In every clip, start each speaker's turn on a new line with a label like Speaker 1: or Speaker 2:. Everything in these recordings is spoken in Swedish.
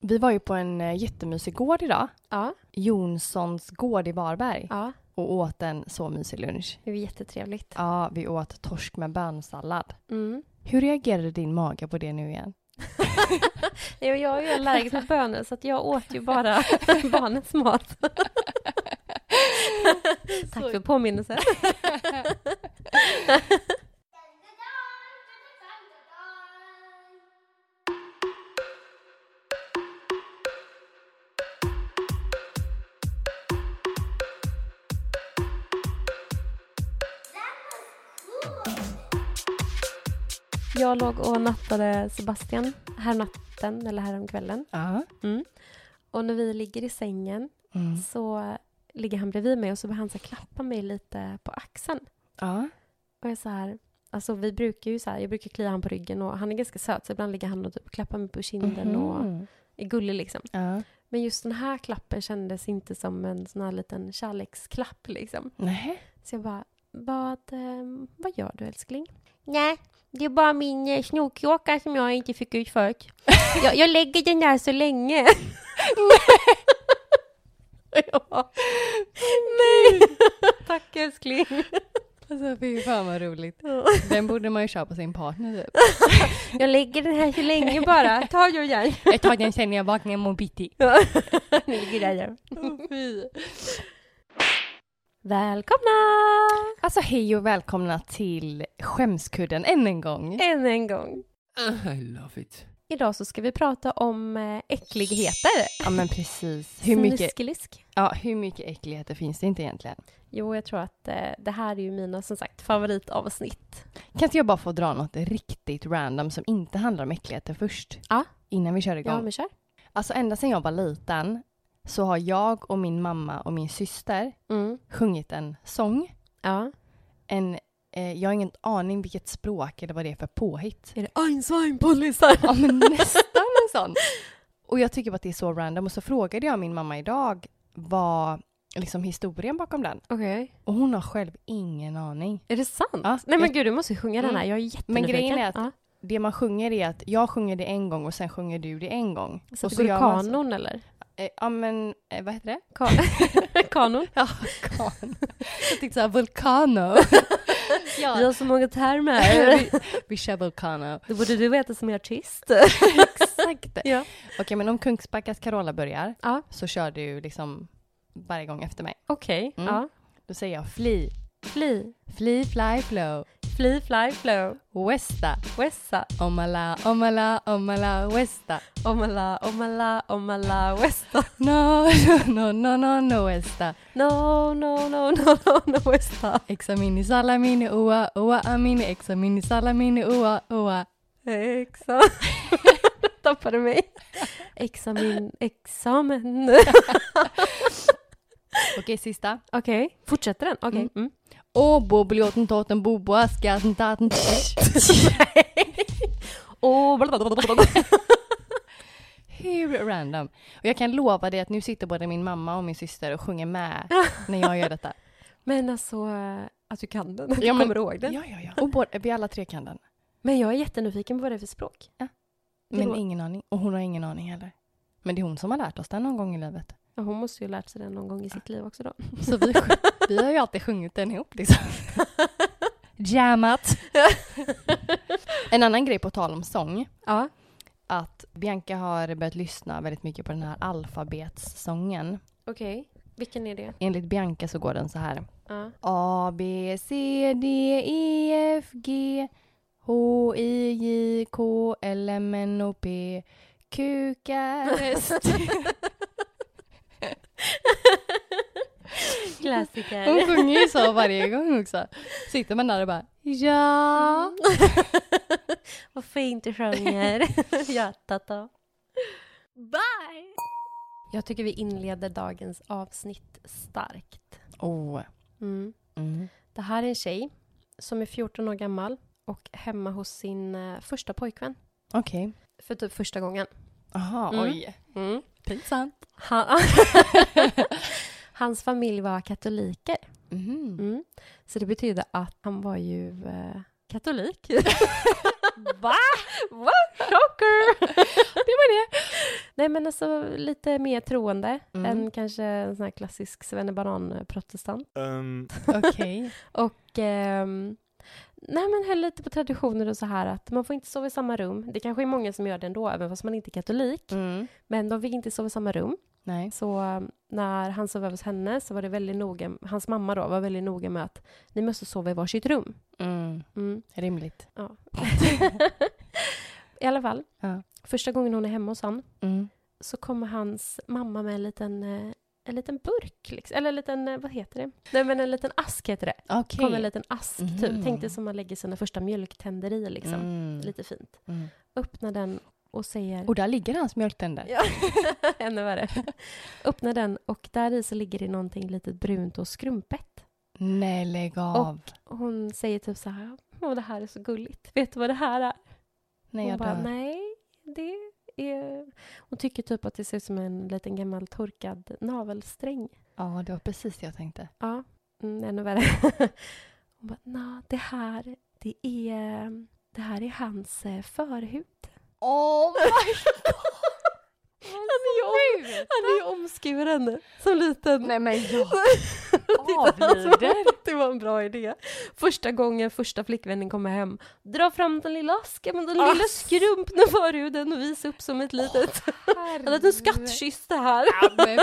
Speaker 1: Vi var ju på en eh, jättemysig gård idag.
Speaker 2: Ja.
Speaker 1: Jonssons gård i Varberg.
Speaker 2: ja.
Speaker 1: Och åt en så mysig lunch.
Speaker 2: Det var jättetrevligt.
Speaker 1: Ja, vi åt torsk med bönsallad.
Speaker 2: Mm.
Speaker 1: Hur reagerade din mage på det nu igen?
Speaker 2: Nej, och Jag är ju allergisk mot bönor så att jag åt ju bara barnens mat. Tack för påminnelsen. Jag låg och nattade Sebastian härnatten eller häromkvällen.
Speaker 1: Ja.
Speaker 2: Och när vi ligger i sängen
Speaker 1: Mm.
Speaker 2: så ligger han bredvid mig och så börjar han så här klappa mig lite på axeln.
Speaker 1: Ja.
Speaker 2: Och jag är så här, alltså vi brukar ju så här, jag brukar klia han på ryggen och han är ganska söt så ibland ligger han och typ klappar mig på kinden och
Speaker 1: Mhm.
Speaker 2: är gullig liksom.
Speaker 1: Ja.
Speaker 2: Men just den här klappen kändes inte som en sån här liten kärleksklapp liksom.
Speaker 1: Nej.
Speaker 2: Så jag bara, vad, eh, vad gör du älskling? Nej, det är bara min eh, snorkråka som jag inte fick ut förut. jag, jag lägger den där så länge. jag bara, nej! Tack älskling.
Speaker 1: Alltså fy fan vad roligt. Den borde man ju köra på sin partner typ.
Speaker 2: jag lägger den här så länge bara. Ta du den.
Speaker 1: Ett tag den känner jag vaknar jag mår bitti.
Speaker 2: Den ligger där. Välkomna!
Speaker 1: Alltså hej och välkomna till Skämskudden än en gång.
Speaker 2: Än en gång.
Speaker 3: I love it.
Speaker 2: Idag så ska vi prata om eh, äckligheter.
Speaker 1: Ja men precis. Hur mycket,
Speaker 2: Snuskelisk.
Speaker 1: ja, hur mycket äckligheter finns det inte egentligen?
Speaker 2: Jo, jag tror att eh, det här är ju mina som sagt favoritavsnitt.
Speaker 1: Kan inte jag bara få dra något riktigt random som inte handlar om äckligheter först?
Speaker 2: Ja.
Speaker 1: Innan vi kör igång.
Speaker 2: Ja, men kör.
Speaker 1: Alltså ända sedan jag var liten så har jag och min mamma och min syster
Speaker 2: Mm.
Speaker 1: sjungit en sång.
Speaker 2: Ja.
Speaker 1: En, eh, jag har ingen aning vilket språk eller vad det är för påhitt.
Speaker 2: Är det Einzweinpolisar?
Speaker 1: Ja men nästan en sån. Och jag tycker bara att det är så random och så frågade jag min mamma idag vad liksom historien bakom den.
Speaker 2: Okej.
Speaker 1: Och hon har själv ingen aning.
Speaker 2: Är det sant?
Speaker 1: Ja.
Speaker 2: Nej men gud, du måste ju sjunga den här.
Speaker 1: Mm.
Speaker 2: Jag är jättenyfiken.
Speaker 1: grejen är att-
Speaker 2: Ja.
Speaker 1: Det man sjunger är att jag sjunger det en gång och sen sjunger du det en gång.
Speaker 2: Så
Speaker 1: och
Speaker 2: det går i
Speaker 1: gör man så-
Speaker 2: kanon eller?
Speaker 1: Eh, Ja men, eh, vad heter det?
Speaker 2: Ka- kanon?
Speaker 1: Ja, kan. Jag tänkte såhär vulcano.
Speaker 2: Vi har så många termer.
Speaker 1: vi, vi kör vulcano.
Speaker 2: Det borde du veta som är artist.
Speaker 1: Exakt.
Speaker 2: Ja.
Speaker 1: Okej men om Kungsbackas Carola börjar
Speaker 2: Ja.
Speaker 1: så kör du liksom varje gång efter mig.
Speaker 2: Okej.
Speaker 1: Mm.
Speaker 2: Ja.
Speaker 1: Då säger jag fly,
Speaker 2: Fly.
Speaker 1: fly fly flow,
Speaker 2: Fly, fly, flow.
Speaker 1: westa,
Speaker 2: Wessa.
Speaker 1: omala, omala, omala, westa.
Speaker 2: Omala, omala, omala, westa.
Speaker 1: No, no, no, no, no, no westa.
Speaker 2: No, no, no, no, no, no, westa.
Speaker 1: Examini salamini oa, oa amini, examini salamini oa, oa.
Speaker 2: Exa... Tappade mig. Examin... Examen.
Speaker 1: Okej, sista.
Speaker 2: Okej, fortsätter den? Okej.
Speaker 1: Mm.
Speaker 2: Mm.
Speaker 1: Åh, bobbeljotten, tåten, bobo, askatten, taten,
Speaker 2: Och...
Speaker 1: Hur random? Och jag kan lova dig att nu sitter både min mamma och min syster och sjunger med när jag gör detta.
Speaker 2: Men alltså, att du kan den, att
Speaker 1: Ja,
Speaker 2: du
Speaker 1: men-
Speaker 2: kommer ihåg den.
Speaker 1: Ja, ja, ja. Och både, vi alla tre kan den.
Speaker 2: Men jag är jättenyfiken på vad det är för språk. Det
Speaker 1: Men
Speaker 2: lå-
Speaker 1: ingen aning. Och hon har ingen aning heller. Men det är hon som har lärt oss den någon gång i livet.
Speaker 2: Ja, Hon måste ju ha lärt sig den någon gång i sitt liv också då.
Speaker 1: Så vi, sj- vi har ju alltid sjungit den ihop liksom. Jammat! en annan grej på tal om sång.
Speaker 2: Ja.
Speaker 1: Att Bianca har börjat lyssna väldigt mycket på den här alfabetssången.
Speaker 2: Okej. Vilken är det?
Speaker 1: Enligt Bianca så går den så här.
Speaker 2: Ja.
Speaker 1: A, B, C, D, E, F, G H, I, J, K, L, M, N, O, P Q, K, R, S, T Hon
Speaker 2: Klassiker.
Speaker 1: sjunger ju så varje gång också. Sitter man där och bara ja.
Speaker 2: Mm. Vad fint du sjunger. Hjärtat Bye! Jag tycker vi inleder dagens avsnitt starkt.
Speaker 1: Oh.
Speaker 2: Mm.
Speaker 1: Mm.
Speaker 2: Det här är en tjej som är 14 år gammal och hemma hos sin eh, första pojkvän
Speaker 1: Okej.
Speaker 2: för typ första gången.
Speaker 1: Jaha,
Speaker 2: Mm.
Speaker 1: oj. Pinsamt.
Speaker 2: Han, hans familj var katoliker.
Speaker 1: Mm.
Speaker 2: Mm. Så det betyder att han var ju eh, katolik. Va? Va? Chock Sucker! det var det. Nej, men alltså lite mer troende
Speaker 1: Mm.
Speaker 2: än kanske en sån här klassisk svennebanan-protestant.
Speaker 3: Ehm,
Speaker 1: Okej.
Speaker 2: Och ehm, nej, men höll lite på traditioner och så här att man får inte sova i samma rum. Det kanske är många som gör det ändå, även fast man inte är katolik.
Speaker 1: Mm.
Speaker 2: Men de fick inte sova i samma rum.
Speaker 1: Nej.
Speaker 2: Så eh, när han sov över hos henne så var det väldigt noga, hans mamma då var väldigt noga med att ni måste sova i varsitt rum.
Speaker 1: Mm.
Speaker 2: Mm.
Speaker 1: Rimligt.
Speaker 2: Ja. I alla fall,
Speaker 1: Ja.
Speaker 2: första gången hon är hemma hos han
Speaker 1: Mm.
Speaker 2: så kommer hans mamma med en liten, eh, en liten burk, liksom. eller en liten, eh, vad heter det? Nej men en liten ask heter det.
Speaker 1: Okej.
Speaker 2: Kommer en liten ask
Speaker 1: Mhm.
Speaker 2: typ. Tänk dig som man lägger sina första mjölktänder i liksom.
Speaker 1: Mm.
Speaker 2: Lite fint.
Speaker 1: Mm.
Speaker 2: Öppna den och säger...
Speaker 1: Och där ligger hans mjölktänder.
Speaker 2: Ja, ännu värre. Öppna den och där i så ligger det någonting lite brunt och skrumpet.
Speaker 1: Nej, lägg av.
Speaker 2: Och hon säger typ så här, åh det här är så gulligt, vet du vad det här är?
Speaker 1: Nej,
Speaker 2: hon
Speaker 1: jag
Speaker 2: bara,
Speaker 1: dör.
Speaker 2: nej, det är... Hon tycker typ att det ser ut som en liten gammal torkad navelsträng.
Speaker 1: Ja, det var precis det jag tänkte.
Speaker 2: Ja, mm, ännu värre. Hon bara, nej, det här, det är... Det här är hans eh, förhud.
Speaker 1: Oh my
Speaker 2: Han är, ju om, han är ju omskuren som liten.
Speaker 1: Nej men jag
Speaker 2: Avlider.
Speaker 1: avlider.
Speaker 2: Det var en bra idé. Första gången första flickvännen kommer hem, dra fram den lilla asken med den
Speaker 1: Ah.
Speaker 2: lilla skrumpen av förhuden och visa upp som ett litet... En liten skattkysta här.
Speaker 1: Ja, men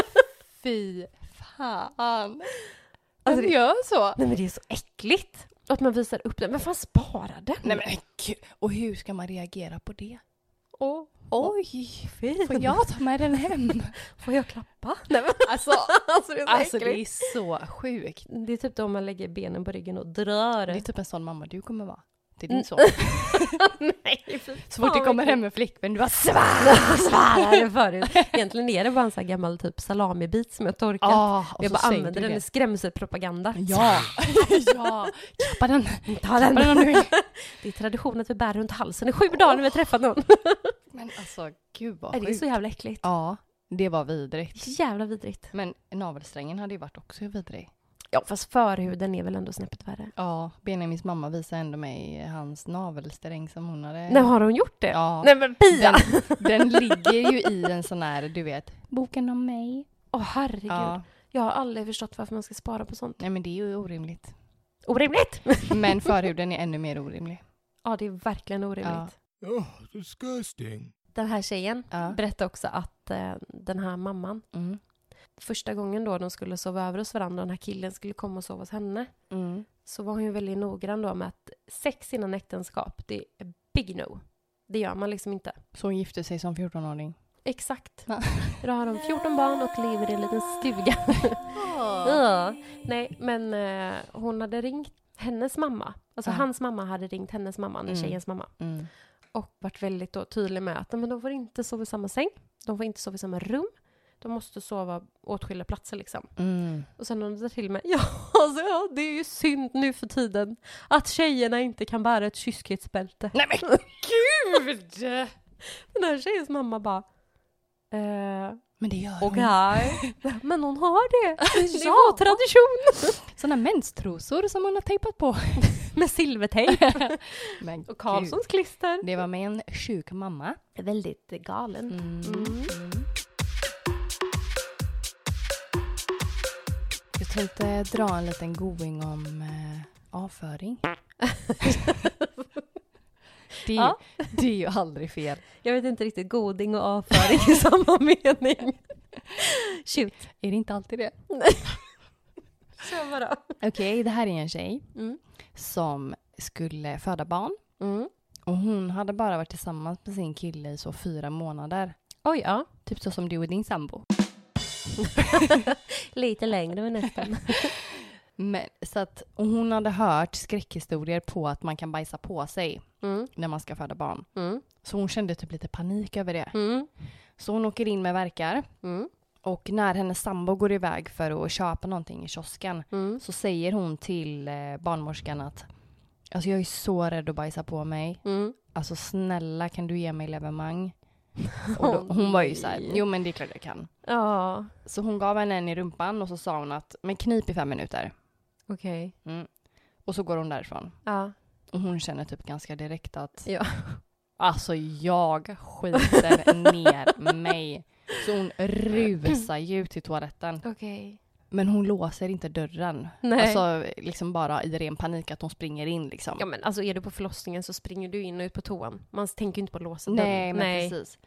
Speaker 1: fy fan.
Speaker 2: Alltså,
Speaker 1: Vem
Speaker 2: det,
Speaker 1: gör så?
Speaker 2: nej men det är så äckligt. Att man visar upp den. Men fan spara den?
Speaker 1: Nej men gud. Och hur ska man reagera på det?
Speaker 2: Åh,
Speaker 1: Oj!
Speaker 2: fin.
Speaker 1: Får jag ta med den hem?
Speaker 2: Får jag klappa? Nej, men,
Speaker 1: Alltså,
Speaker 2: alltså det är så
Speaker 1: alltså det
Speaker 2: äckligt.
Speaker 1: är så sjukt.
Speaker 2: Det är... typ då man lägger benen på ryggen och drar.
Speaker 1: Det är typ en sån mamma du kommer vara. Det är din son.
Speaker 2: nej, fy
Speaker 1: Så fort
Speaker 2: fan,
Speaker 1: du kommer
Speaker 2: vad
Speaker 1: hem en flickvän, du bara svär!
Speaker 2: svarade förut. Egentligen är det bara en sån här gammal typ salamibit som jag torkat.
Speaker 1: Ah, och
Speaker 2: jag
Speaker 1: så
Speaker 2: bara
Speaker 1: säger du
Speaker 2: använder den i
Speaker 1: det.
Speaker 2: skrämselpropaganda.
Speaker 1: Ja, ja. Klappa den.
Speaker 2: Ta
Speaker 1: Klappa den om du vill.
Speaker 2: Det är tradition att vi bär runt halsen i sju dagar när vi träffar någon.
Speaker 1: Men alltså gud vad
Speaker 2: Är det är
Speaker 1: sjukt.
Speaker 2: så jävla äckligt.
Speaker 1: Ja, det var vidrigt.
Speaker 2: Jävla vidrigt.
Speaker 1: Men navelsträngen hade ju varit också vidrig.
Speaker 2: Ja, fast förhuden är väl ändå snäppet värre.
Speaker 1: Ja, Benjamins mamma visade ändå mig hans navelsträng som hon hade.
Speaker 2: Nej, har hon gjort det?
Speaker 1: Eh, Ja.
Speaker 2: Nej men Pia!
Speaker 1: Den, den ligger ju i en sån här, du vet. Boken om mig.
Speaker 2: Åh herregud.
Speaker 1: Ja,
Speaker 2: Jag har aldrig förstått varför man ska spara på sånt.
Speaker 1: nej men det är ju orimligt.
Speaker 2: Orimligt!
Speaker 1: Men förhuden är ännu mer orimlig.
Speaker 2: ja, det är verkligen orimligt.
Speaker 1: Ja.
Speaker 3: oh, disgusting.
Speaker 2: Den här tjejen
Speaker 1: Ja.
Speaker 2: berättade också att eh, den här mamman,
Speaker 1: Mm.
Speaker 2: första gången då de skulle sova över hos varandra och den här killen skulle komma och sova hos henne
Speaker 1: Mm.
Speaker 2: så var hon ju väldigt noggrann då med att sex innan äktenskap, det är big no. Det gör man liksom inte.
Speaker 1: Så hon gifte sig som 14-åring.
Speaker 2: Exakt.
Speaker 1: Ja.
Speaker 2: Då har de 14 barn och lever i en liten stuga. Ja. Nej, men eh, hon hade ringt hennes mamma. Alltså
Speaker 1: Ja.
Speaker 2: hans mamma hade ringt hennes mamma, mm.
Speaker 1: Mm.
Speaker 2: tjejens mamma.
Speaker 1: Mm.
Speaker 2: Och varit väldigt då tydlig med att "Nej, men de får inte sova i samma säng. De får inte sova i samma rum. De måste sova åtskilda platser liksom.
Speaker 1: Mm.
Speaker 2: Och sen hon till med, ja, alltså, ja, det är ju synd nu för tiden att tjejerna inte kan bära ett kyskhetsbälte.
Speaker 1: Nej men gud!
Speaker 2: Den här tjejens mamma bara, eh,
Speaker 1: Men det gör hon.
Speaker 2: okej. Men hon har det. Det
Speaker 1: Ja.
Speaker 2: var tradition.
Speaker 1: Såna menstrosor som hon har tejpat på.
Speaker 2: Med silvertejp
Speaker 1: Men
Speaker 2: och Karlssons klister.
Speaker 1: Det var med en sjuk mamma.
Speaker 2: Väldigt galen. Mm.
Speaker 1: Jag tänkte dra en liten going om eh, avföring. det,
Speaker 2: Ja.
Speaker 1: det är ju aldrig fel.
Speaker 2: Jag vet inte riktigt, goding och avföring i samma mening. Shoot.
Speaker 1: Är det inte alltid det?
Speaker 2: Kör bara.
Speaker 1: Okej, det här är en tjej
Speaker 2: Mm.
Speaker 1: som skulle föda barn.
Speaker 2: Mm.
Speaker 1: Och hon hade bara varit tillsammans med sin kille i så fyra månader.
Speaker 2: Oj, ja.
Speaker 1: Typ så som du och din sambo.
Speaker 2: Lite längre men nästan.
Speaker 1: Men, så att, och hon hade hört skräckhistorier på att man kan bajsa på sig
Speaker 2: Mm.
Speaker 1: när man ska föda barn.
Speaker 2: Mm.
Speaker 1: Så hon kände typ lite panik över det.
Speaker 2: Mm.
Speaker 1: Så hon åker in med verkar
Speaker 2: Mm.
Speaker 1: och när hennes sambo går iväg för att köpa någonting i kiosken
Speaker 2: Mm.
Speaker 1: så säger hon till eh, barnmorskan att alltså jag är så rädd att bajsa på mig.
Speaker 2: Mm.
Speaker 1: Alltså snälla kan du ge mig levemang? Och då, hon var ju så här, jo men det är klart jag kan.
Speaker 2: Ja,
Speaker 1: Så hon gav henne en i rumpan och så sa hon att men knip i fem minuter.
Speaker 2: okej.
Speaker 1: Och så går hon därifrån.
Speaker 2: Ja.
Speaker 1: Och hon känner typ ganska direkt att
Speaker 2: Ja.
Speaker 1: Alltså jag skiter ner mig. Så hon rusar ju till toaletten.
Speaker 2: Okej.
Speaker 1: Men hon låser inte dörren.
Speaker 2: Nej.
Speaker 1: Alltså liksom bara i ren panik att hon springer in liksom.
Speaker 2: Ja men alltså är du på förlossningen så springer du in och ut på toan. Man tänker ju inte på att låsa
Speaker 1: Nej,
Speaker 2: dörren.
Speaker 1: men precis.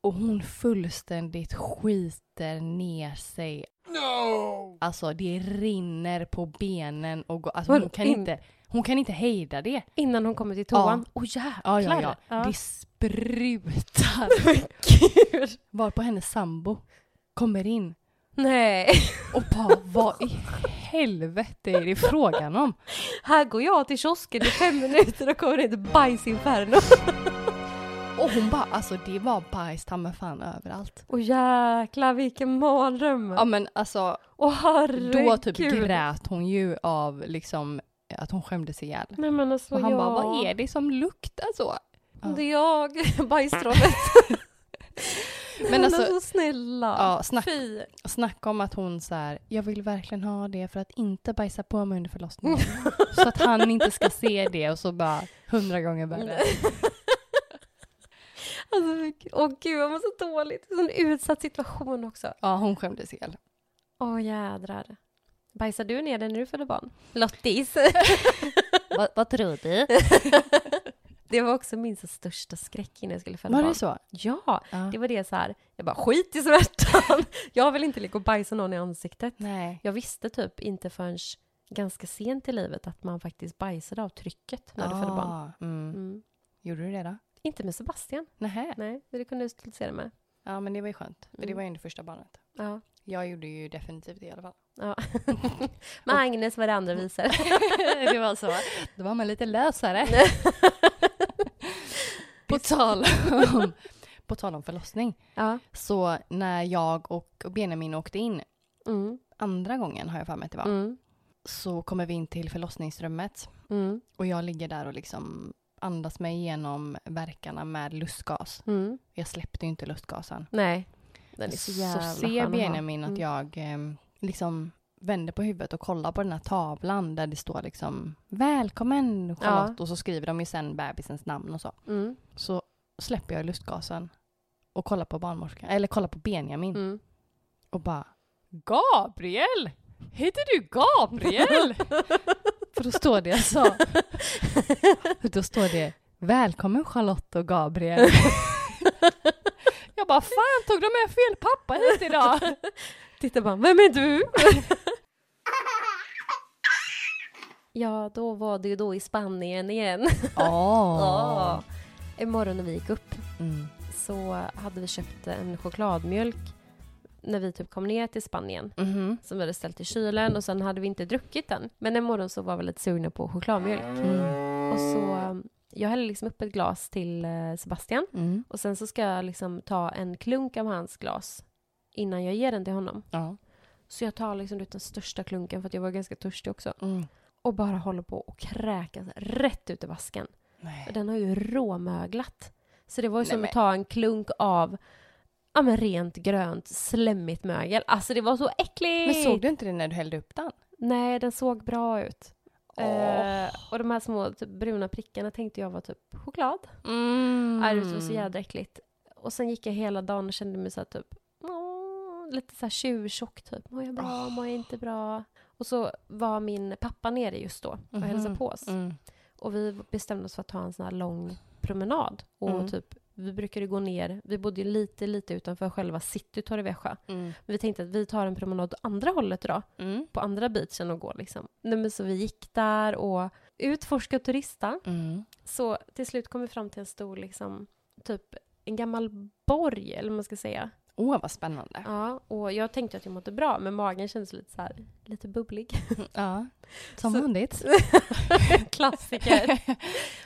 Speaker 1: Och hon fullständigt skiter ner sig.
Speaker 3: No!
Speaker 1: Alltså det rinner på benen och går, alltså, hon,
Speaker 2: Vadå,
Speaker 1: kan
Speaker 2: in-
Speaker 1: inte, hon kan inte hejda det.
Speaker 2: Innan hon kommer till toan. Åh
Speaker 1: Ja, ja,
Speaker 2: jäklar!
Speaker 1: ja.
Speaker 2: Ja.
Speaker 1: Det sprutar.
Speaker 2: Gud.
Speaker 1: Varpå hennes sambo kommer in
Speaker 2: Nej.
Speaker 1: och bara vad i helvete är det frågan om?
Speaker 2: Här går jag till kiosken i fem minuter och kommer in ett bajsinferno.
Speaker 1: Och hon bara alltså det var bajs ta mig fan överallt.
Speaker 2: Åh jäklar vilken mardröm.
Speaker 1: Ja men alltså
Speaker 2: Åh herregud.
Speaker 1: då typ grät hon ju av liksom att hon skämdes ihjäl.
Speaker 2: Nej men alltså
Speaker 1: Och han
Speaker 2: jag.
Speaker 1: bara, vad är det som luktar så? Ja.
Speaker 2: Det är jag. Bajstrollet.
Speaker 1: Men
Speaker 2: Men
Speaker 1: alltså-
Speaker 2: alltså, snälla.
Speaker 1: Ja, snack-
Speaker 2: Fy.
Speaker 1: Snacka om att hon så här, jag vill verkligen ha det för att inte bajsa på mig under förlossningen. så att han inte ska se det och så bara hundra gånger värre.
Speaker 2: Alltså, vilk- åh gud, jag mår så dåligt. Det är en sån utsatt situation också.
Speaker 1: Ja, hon skämdes ihjäl.
Speaker 2: Åh jädrar. Bajsar du ner dig när du födde barn? Lottis.
Speaker 1: vad, tror du?
Speaker 2: Det var också min så största skräck innan jag skulle föda
Speaker 1: Var
Speaker 2: barn.
Speaker 1: det så?
Speaker 2: Ja,
Speaker 1: Ja.
Speaker 2: det var det så här. Jag bara skit i smärtan. jag vill inte ligga och bajsa någon i ansiktet.
Speaker 1: Nej.
Speaker 2: Jag visste typ inte förrän ganska sent i livet att man faktiskt bajsade av trycket när du födde barn.
Speaker 1: Ah, Mm.
Speaker 2: Mm.
Speaker 1: Gjorde du det då?
Speaker 2: Inte med Sebastian.
Speaker 1: Nähä.
Speaker 2: Nej, det kunde du stoltsera med.
Speaker 1: Ja, men det var ju skönt. För det
Speaker 2: Mm.
Speaker 1: var ju ändå första barnet.
Speaker 2: Ja.
Speaker 1: Jag gjorde ju definitivt det i alla fall.
Speaker 2: ja. Men Agnes var det andra visar.
Speaker 1: det var så. Då var man lite lösare. på, tal om, på tal om förlossning.
Speaker 2: ja.
Speaker 1: Så när jag och Benjamin åkte in,
Speaker 2: Mm.
Speaker 1: andra gången har jag för mig att det var,
Speaker 2: Mm.
Speaker 1: så kommer vi in till förlossningsrummet
Speaker 2: Mm.
Speaker 1: och jag ligger där och liksom andas mig igenom verkarna med lustgas.
Speaker 2: Mm.
Speaker 1: Jag släppte ju inte lustgasen.
Speaker 2: Nej. Den är så
Speaker 1: så
Speaker 2: jävla skön
Speaker 1: ser
Speaker 2: att ha.
Speaker 1: Benjamin att
Speaker 2: Mm.
Speaker 1: jag eh, liksom vänder på huvudet och kollar på den här tavlan där det står liksom välkommen Charlotte och så skriver de ju sen bebisens namn och så.
Speaker 2: Mm.
Speaker 1: Så släpper jag lustgasen och kollar på barnmorskan, eller kollar på Benjamin
Speaker 2: Mm.
Speaker 1: och bara Gabriel! Heter du Gabriel? För då står det alltså, då står det Välkommen Charlotte och Gabriel. Jag bara fan tog de med fel pappa hit idag?
Speaker 2: Titta bara, vem är du? ja, då var det ju då i Spanien igen.
Speaker 1: Ja.
Speaker 2: Ja. Imorgon när vi gick upp
Speaker 1: Mm.
Speaker 2: så hade vi köpt en chokladmjölk när vi typ kom ner till Spanien
Speaker 1: Mhm.
Speaker 2: som vi hade ställt i kylen och sen hade vi inte druckit den. Men en morgon så var vi lite sugna på chokladmjölk
Speaker 1: Mm.
Speaker 2: och så um, jag hällde liksom upp ett glas till eh, Sebastian
Speaker 1: Mm.
Speaker 2: och sen så ska jag liksom ta en klunk av hans glas innan jag ger den till honom.
Speaker 1: Ja.
Speaker 2: Så jag tar liksom du vet, den största klunken för att jag var ganska törstig också.
Speaker 1: Mm.
Speaker 2: Och bara håller på och kräkas rätt ut i vasken.
Speaker 1: Nej.
Speaker 2: Och Den har ju råmöglat. Så det var ju
Speaker 1: Nej,
Speaker 2: som
Speaker 1: men-
Speaker 2: att ta en klunk av ja, men rent grönt slemmigt mögel. Alltså det var så äckligt!
Speaker 1: Men såg du inte det när du hällde upp den?
Speaker 2: Nej, den såg bra ut.
Speaker 1: Åh.
Speaker 2: Eh, och de här små typ, bruna prickarna tänkte jag var typ choklad.
Speaker 1: Mm.
Speaker 2: Nej, det var så jädra äckligt. Och sen gick jag hela dagen och kände mig så här typ, "Åh", lite så här tjurtjock typ. Mår jag bra? Mår jag inte bra? Och så var min pappa nere just då och hälsade på oss.
Speaker 1: Mm.
Speaker 2: Och vi bestämde oss för att ta en sån här lång promenad. Och
Speaker 1: Mm.
Speaker 2: typ, vi brukade gå ner, vi bodde ju lite, lite utanför själva city Torrevieja.
Speaker 1: Mm.
Speaker 2: Men vi tänkte att vi tar en promenad åt andra hållet idag,
Speaker 1: Mm.
Speaker 2: på andra beachen och går liksom. Nej, men så vi gick där och utforskade turista.
Speaker 1: Mm.
Speaker 2: Så till slut kom vi fram till en stor, liksom, typ en gammal borg, eller vad man ska säga.
Speaker 1: Åh, vad spännande.
Speaker 2: Ja, och jag tänkte att jag mådde bra, men magen kändes lite så här, lite bubblig.
Speaker 1: Ja. Som
Speaker 2: Så-
Speaker 1: vanligt.
Speaker 2: Klassiker.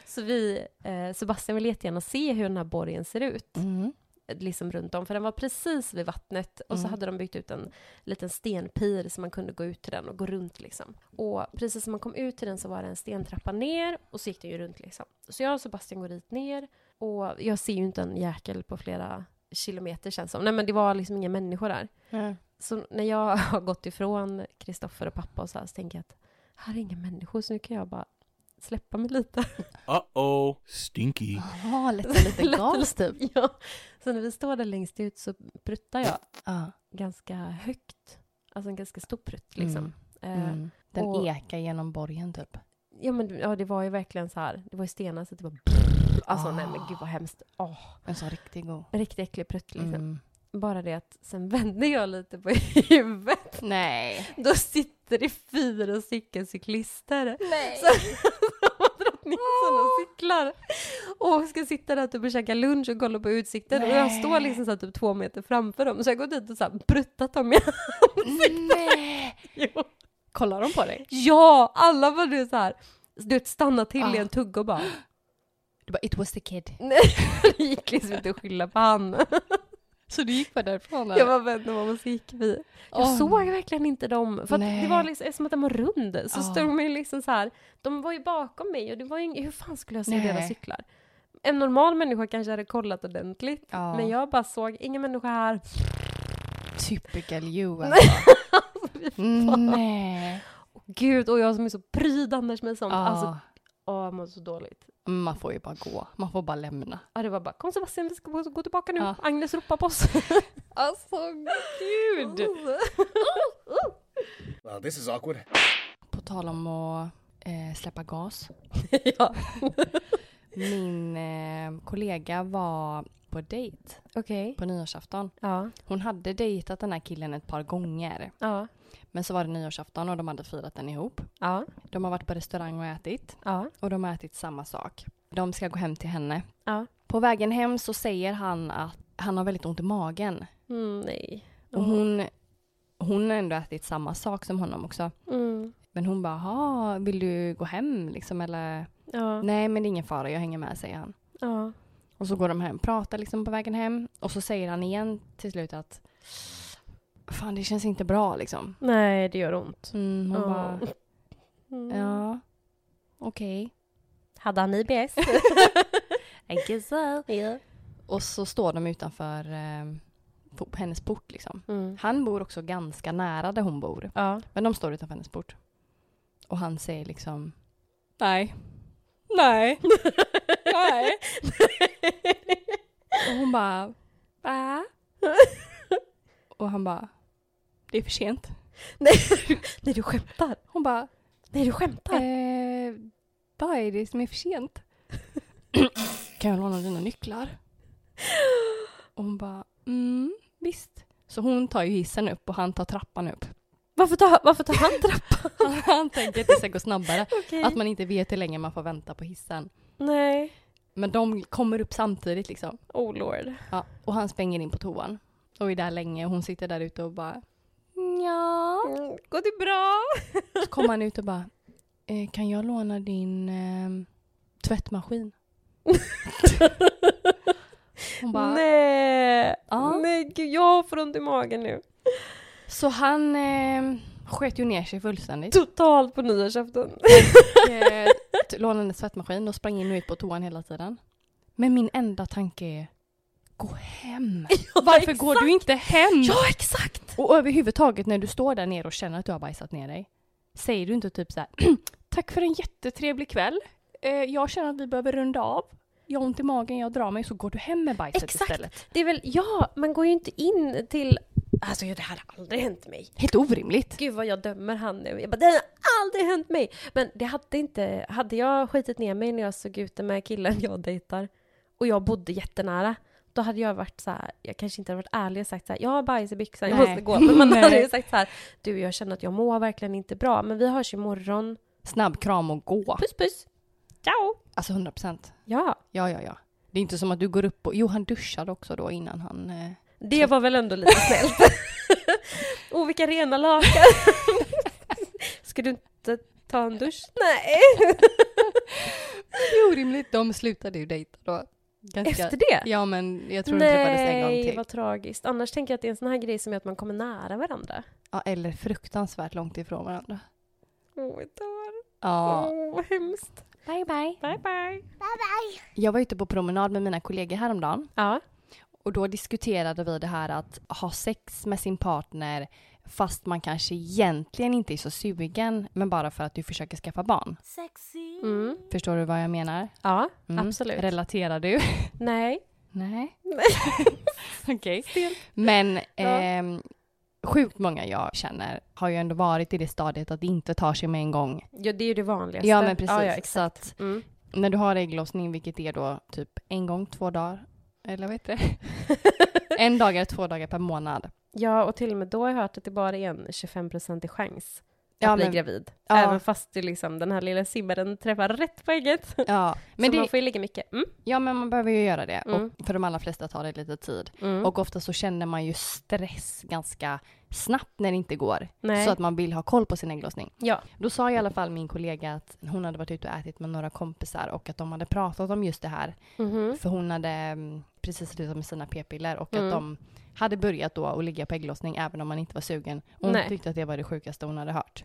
Speaker 2: så vi, eh, Sebastian ville jättegärna se hur den här borgen ser ut,
Speaker 1: Mm.
Speaker 2: eh, liksom runt om, för den var precis vid vattnet och så
Speaker 1: Mm.
Speaker 2: hade de byggt ut en liten stenpir så man kunde gå ut till den och gå runt liksom. Och precis som man kom ut till den så var det en stentrappa ner och så gick den ju runt liksom. Så jag och Sebastian går dit ner och jag ser ju inte en jäkel på flera kilometer känns som. Nej men det var liksom inga människor där.
Speaker 1: Ja.
Speaker 2: Så när jag har gått ifrån Kristoffer och pappa och så här så tänker jag att här är inga människor så nu kan jag bara släppa mig lite.
Speaker 3: Uh-oh. Stinky.
Speaker 1: Jaha, lite, lite
Speaker 2: Lät
Speaker 1: gas typ.
Speaker 2: ja. Så när vi står där längst ut så pruttar jag
Speaker 1: Ja.
Speaker 2: ganska högt. Alltså en ganska stor prutt liksom.
Speaker 1: Mm.
Speaker 2: Eh,
Speaker 1: Mm. Den
Speaker 2: och-
Speaker 1: ekar genom borgen typ.
Speaker 2: ja, men, ja, det var ju verkligen så här. Det var ju stenar så det var...
Speaker 1: Ah.
Speaker 2: Alltså nej men gud vad hemskt. Åh,
Speaker 1: En sån riktigt god.
Speaker 2: en riktigt äcklig prutt liksom.
Speaker 1: Ah. Mm.
Speaker 2: Bara det att sen vände jag lite på huvudet.
Speaker 1: Nej.
Speaker 2: Då sitter det fyra stycken cyklister
Speaker 1: Nej.
Speaker 2: Så- som har dragit ner
Speaker 1: Ah.
Speaker 2: sina cyklar. Och ska sitta där typ och käka lunch och kolla på utsikten. Och jag
Speaker 1: Nej.
Speaker 2: står liksom så här typ två meter framför dem. Så jag går dit och så här bruttat dem i
Speaker 1: Nej.
Speaker 2: Jo.
Speaker 1: Kollar de på dig?
Speaker 2: Ja, alla var nu så här. Du vet, stanna till i
Speaker 1: Ah.
Speaker 2: en tugga och bara.
Speaker 1: Du bara, it was the kid.
Speaker 2: Det gick liksom inte att skylla på han.
Speaker 1: Så du gick bara därifrån?
Speaker 2: Jag var vänd om och så gick vi. Jag
Speaker 1: Åh,
Speaker 2: såg verkligen inte dem. För att det
Speaker 1: Nej. Ah.
Speaker 2: var liksom, som att den var rund. Så
Speaker 1: Ja.
Speaker 2: stod de ju liksom så här. De var ju bakom mig och det var ju ing- Hur fan skulle jag se
Speaker 1: Nej.
Speaker 2: deras cyklar? En normal människa kanske hade kollat ordentligt.
Speaker 1: Ja.
Speaker 2: Men jag bara såg ingen människa här.
Speaker 1: Typical you alltså. Nej.
Speaker 2: Gud, och jag som är så pryd annars med sånt.
Speaker 1: Ja.
Speaker 2: Alltså, åh, jag mår så dåligt.
Speaker 1: Man får ju bara gå. Man får bara lämna.
Speaker 2: Ja, det var bara, kom Sebastian vi ska gå- gå tillbaka nu.
Speaker 1: Ja.
Speaker 2: Agnes ropar på oss.
Speaker 1: Alltså gud.
Speaker 3: Well, this is awkward.
Speaker 1: På tal om att eh, släppa gas.
Speaker 2: ja.
Speaker 1: Min eh, kollega var på dejt
Speaker 2: Okej.
Speaker 1: på nyårsafton.
Speaker 2: Ja.
Speaker 1: Hon hade dejtat den här killen ett par gånger.
Speaker 2: Ja.
Speaker 1: Men så var det nyårsafton och de hade firat den ihop.
Speaker 2: Ja.
Speaker 1: De har varit på restaurang och ätit.
Speaker 2: Ja.
Speaker 1: Och de har ätit samma sak. De ska gå hem till henne.
Speaker 2: Ja.
Speaker 1: På vägen hem så säger han att han har väldigt ont i magen.
Speaker 2: Mm, nej.
Speaker 1: Och hon, hon har ändå ätit samma sak som honom också.
Speaker 2: Mm.
Speaker 1: Men hon bara, "Ha, vill du gå hem liksom eller?
Speaker 2: Mm. Ja.
Speaker 1: Nej men det är ingen fara, jag hänger med säger han.
Speaker 2: Ja.
Speaker 1: Och så går de hem, pratar liksom på vägen hem. Och så säger han igen till slut att Fan det känns inte bra liksom.
Speaker 2: Nej, det gör ont.
Speaker 1: Mm, hon
Speaker 2: Ja.
Speaker 1: bara,
Speaker 2: Mm.
Speaker 1: ja okej.
Speaker 2: Hade han IBS?
Speaker 1: I guess so.
Speaker 2: ja.
Speaker 1: Och så står de utanför eh, po- hennes port liksom.
Speaker 2: Mm.
Speaker 1: Han bor också ganska nära där hon bor.
Speaker 2: Ja.
Speaker 1: Men de står utanför hennes port. Och han säger liksom... Nej. Nej. Nej. Och hon bara... Va? Och han bara... Det är för sent.
Speaker 2: Nej, du skämtar.
Speaker 1: Hon bara...
Speaker 2: Nej, du skämtar.
Speaker 1: Eh, vad är det som är för sent? kan jag låna dina nycklar? Och hon bara... Mm, visst. Så hon tar ju hissen upp och han tar trappan upp.
Speaker 2: Varför tar, varför tar han trappan?
Speaker 1: Han tänker att det ska gå snabbare.
Speaker 2: Okej.
Speaker 1: Att man inte vet hur länge man får vänta på hissen.
Speaker 2: Nej.
Speaker 1: Men de kommer upp samtidigt liksom.
Speaker 2: Oh lord.
Speaker 1: Ja, och han spänger in på toan. Och är där länge och hon sitter där ute och bara ja.
Speaker 2: Mm. Går det bra?
Speaker 1: Så kommer han ut och bara eh, kan jag låna din eh, tvättmaskin? Hon bara
Speaker 2: Nej.
Speaker 1: Ja.
Speaker 2: Nej, gud, jag får ont i magen nu.
Speaker 1: så han eh, sköt ju ner sig fullständigt.
Speaker 2: Totalt på nyårsafton.
Speaker 1: Eh, t- lånade hennes tvättmaskin och sprang in och ut på toan hela tiden. Men min enda tanke är gå hem. Varför går du inte hem?
Speaker 2: Ja, exakt!
Speaker 1: Och överhuvudtaget när du står där nere och känner att du har bajsat ner dig, säger du inte typ så här Tack för en jättetrevlig kväll. Eh, jag känner att vi behöver runda av. Jag har ont i magen, jag drar mig. Så går du hem med bajset
Speaker 2: Exakt.
Speaker 1: istället.
Speaker 2: Det är väl, ja, man går ju inte in till... Alltså, det här har aldrig hänt mig.
Speaker 1: Helt orimligt.
Speaker 2: Gud vad jag dömer han nu. Jag bara, det har aldrig hänt mig. Men det hade inte, hade jag skitit ner mig när jag såg ut med killen jag dejtar och jag bodde jättenära, då hade jag varit så här, jag kanske inte hade varit ärlig och sagt så här, jag har bajs i byxan, jag
Speaker 1: Nej.
Speaker 2: måste gå. Men man hade
Speaker 1: Nej.
Speaker 2: ju sagt så här, du jag känner att jag mår verkligen inte bra, men vi hörs imorgon.
Speaker 1: Snabb kram och gå.
Speaker 2: Puss puss! Ciao!
Speaker 1: Alltså 100 procent.
Speaker 2: Ja,
Speaker 1: Ja, ja, ja. Det är inte som att du går upp och... Jo, han duschade också då innan han... Eh...
Speaker 2: det var väl ändå lite snällt. Åh, vilka rena lakan! Ska du inte ta en dusch? Nej!
Speaker 1: Orimligt. De slutade ju dejta då. Ganska...
Speaker 2: Efter det?
Speaker 1: Ja, men jag tror de
Speaker 2: Nej,
Speaker 1: träffades en gång till.
Speaker 2: vad tragiskt. Annars tänker jag att det är en sån här grej som gör att man kommer nära varandra.
Speaker 1: Ja, eller fruktansvärt långt ifrån varandra.
Speaker 2: Åh, Oh, ett år. Åh,
Speaker 1: Ja.
Speaker 2: vad hemskt.
Speaker 1: Bye, bye.
Speaker 2: Bye, bye.
Speaker 1: Jag var ute på promenad med mina kollegor häromdagen.
Speaker 2: Ja.
Speaker 1: Och då diskuterade vi det här att ha sex med sin partner fast man kanske egentligen inte är så sugen men bara för att du försöker skaffa barn.
Speaker 2: Mm.
Speaker 1: Förstår du vad jag menar?
Speaker 2: Ja,
Speaker 1: Mm.
Speaker 2: absolut.
Speaker 1: Relaterar du?
Speaker 2: Nej.
Speaker 1: Nej.
Speaker 2: Nej.
Speaker 1: Okej.
Speaker 2: Stelt.
Speaker 1: Men
Speaker 2: Ja.
Speaker 1: ehm, sjukt många jag känner har ju ändå varit i det stadiet att det inte tar sig med en gång.
Speaker 2: Ja, det är ju det vanligaste.
Speaker 1: Ja men precis.
Speaker 2: Ja, ja,
Speaker 1: så
Speaker 2: exakt.
Speaker 1: att
Speaker 2: Mm.
Speaker 1: när du har ägglossning, vilket är då typ en gång två dagar, eller vad heter det? en dag eller två dagar per månad.
Speaker 2: ja, och till och med då har jag hört att det bara är en 25-procentig chans att
Speaker 1: Ja,
Speaker 2: bli
Speaker 1: men-
Speaker 2: gravid.
Speaker 1: Ja.
Speaker 2: Även fast det liksom, den här lilla simmaren träffar rätt på ägget.
Speaker 1: Ja, men,
Speaker 2: så man
Speaker 1: det,
Speaker 2: får ju ligga mycket. Mm.
Speaker 1: ja, men man behöver ju göra det.
Speaker 2: Mm.
Speaker 1: Och för de allra flesta tar det lite tid.
Speaker 2: Mm.
Speaker 1: Och ofta så känner man ju stress ganska snabbt när det inte går.
Speaker 2: Nej.
Speaker 1: Så att man vill ha koll på sin ägglossning.
Speaker 2: Ja.
Speaker 1: Då sa i alla fall min kollega att hon hade varit ute och ätit med några kompisar och att de hade pratat om just det här.
Speaker 2: Mhm.
Speaker 1: För hon hade mm, precis slutat med sina p-piller och
Speaker 2: Mm.
Speaker 1: att de hade börjat då att ligga på ägglossning även om man inte var sugen. Och hon
Speaker 2: Nej.
Speaker 1: tyckte att det var det sjukaste hon hade hört.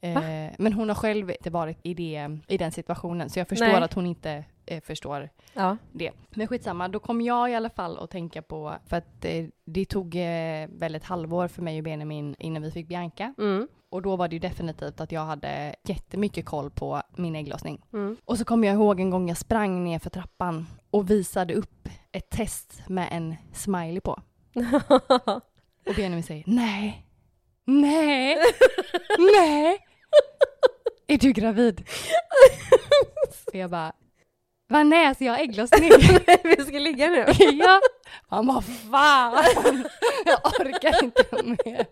Speaker 2: Va?
Speaker 1: Eh, men hon har själv inte varit i, det, i den situationen så jag förstår
Speaker 2: Nej.
Speaker 1: att hon inte eh, förstår
Speaker 2: Ja.
Speaker 1: det. Men skitsamma, då kom jag i alla fall att tänka på, för att eh, det tog eh, väl ett halvår för mig och Benjamin innan vi fick Bianca.
Speaker 2: Mm.
Speaker 1: Och då var det ju definitivt att jag hade jättemycket koll på min ägglossning.
Speaker 2: Mm.
Speaker 1: Och så kommer jag ihåg en gång jag sprang ner för trappan och visade upp ett test med en smiley på. Och Benjamin säger nej, nej, nej, är du gravid? Och jag bara, vad nej, alltså jag har ägglossning.
Speaker 2: Nej, vi ska ligga nu.
Speaker 1: ja. Han bara, fan, jag orkar inte mer.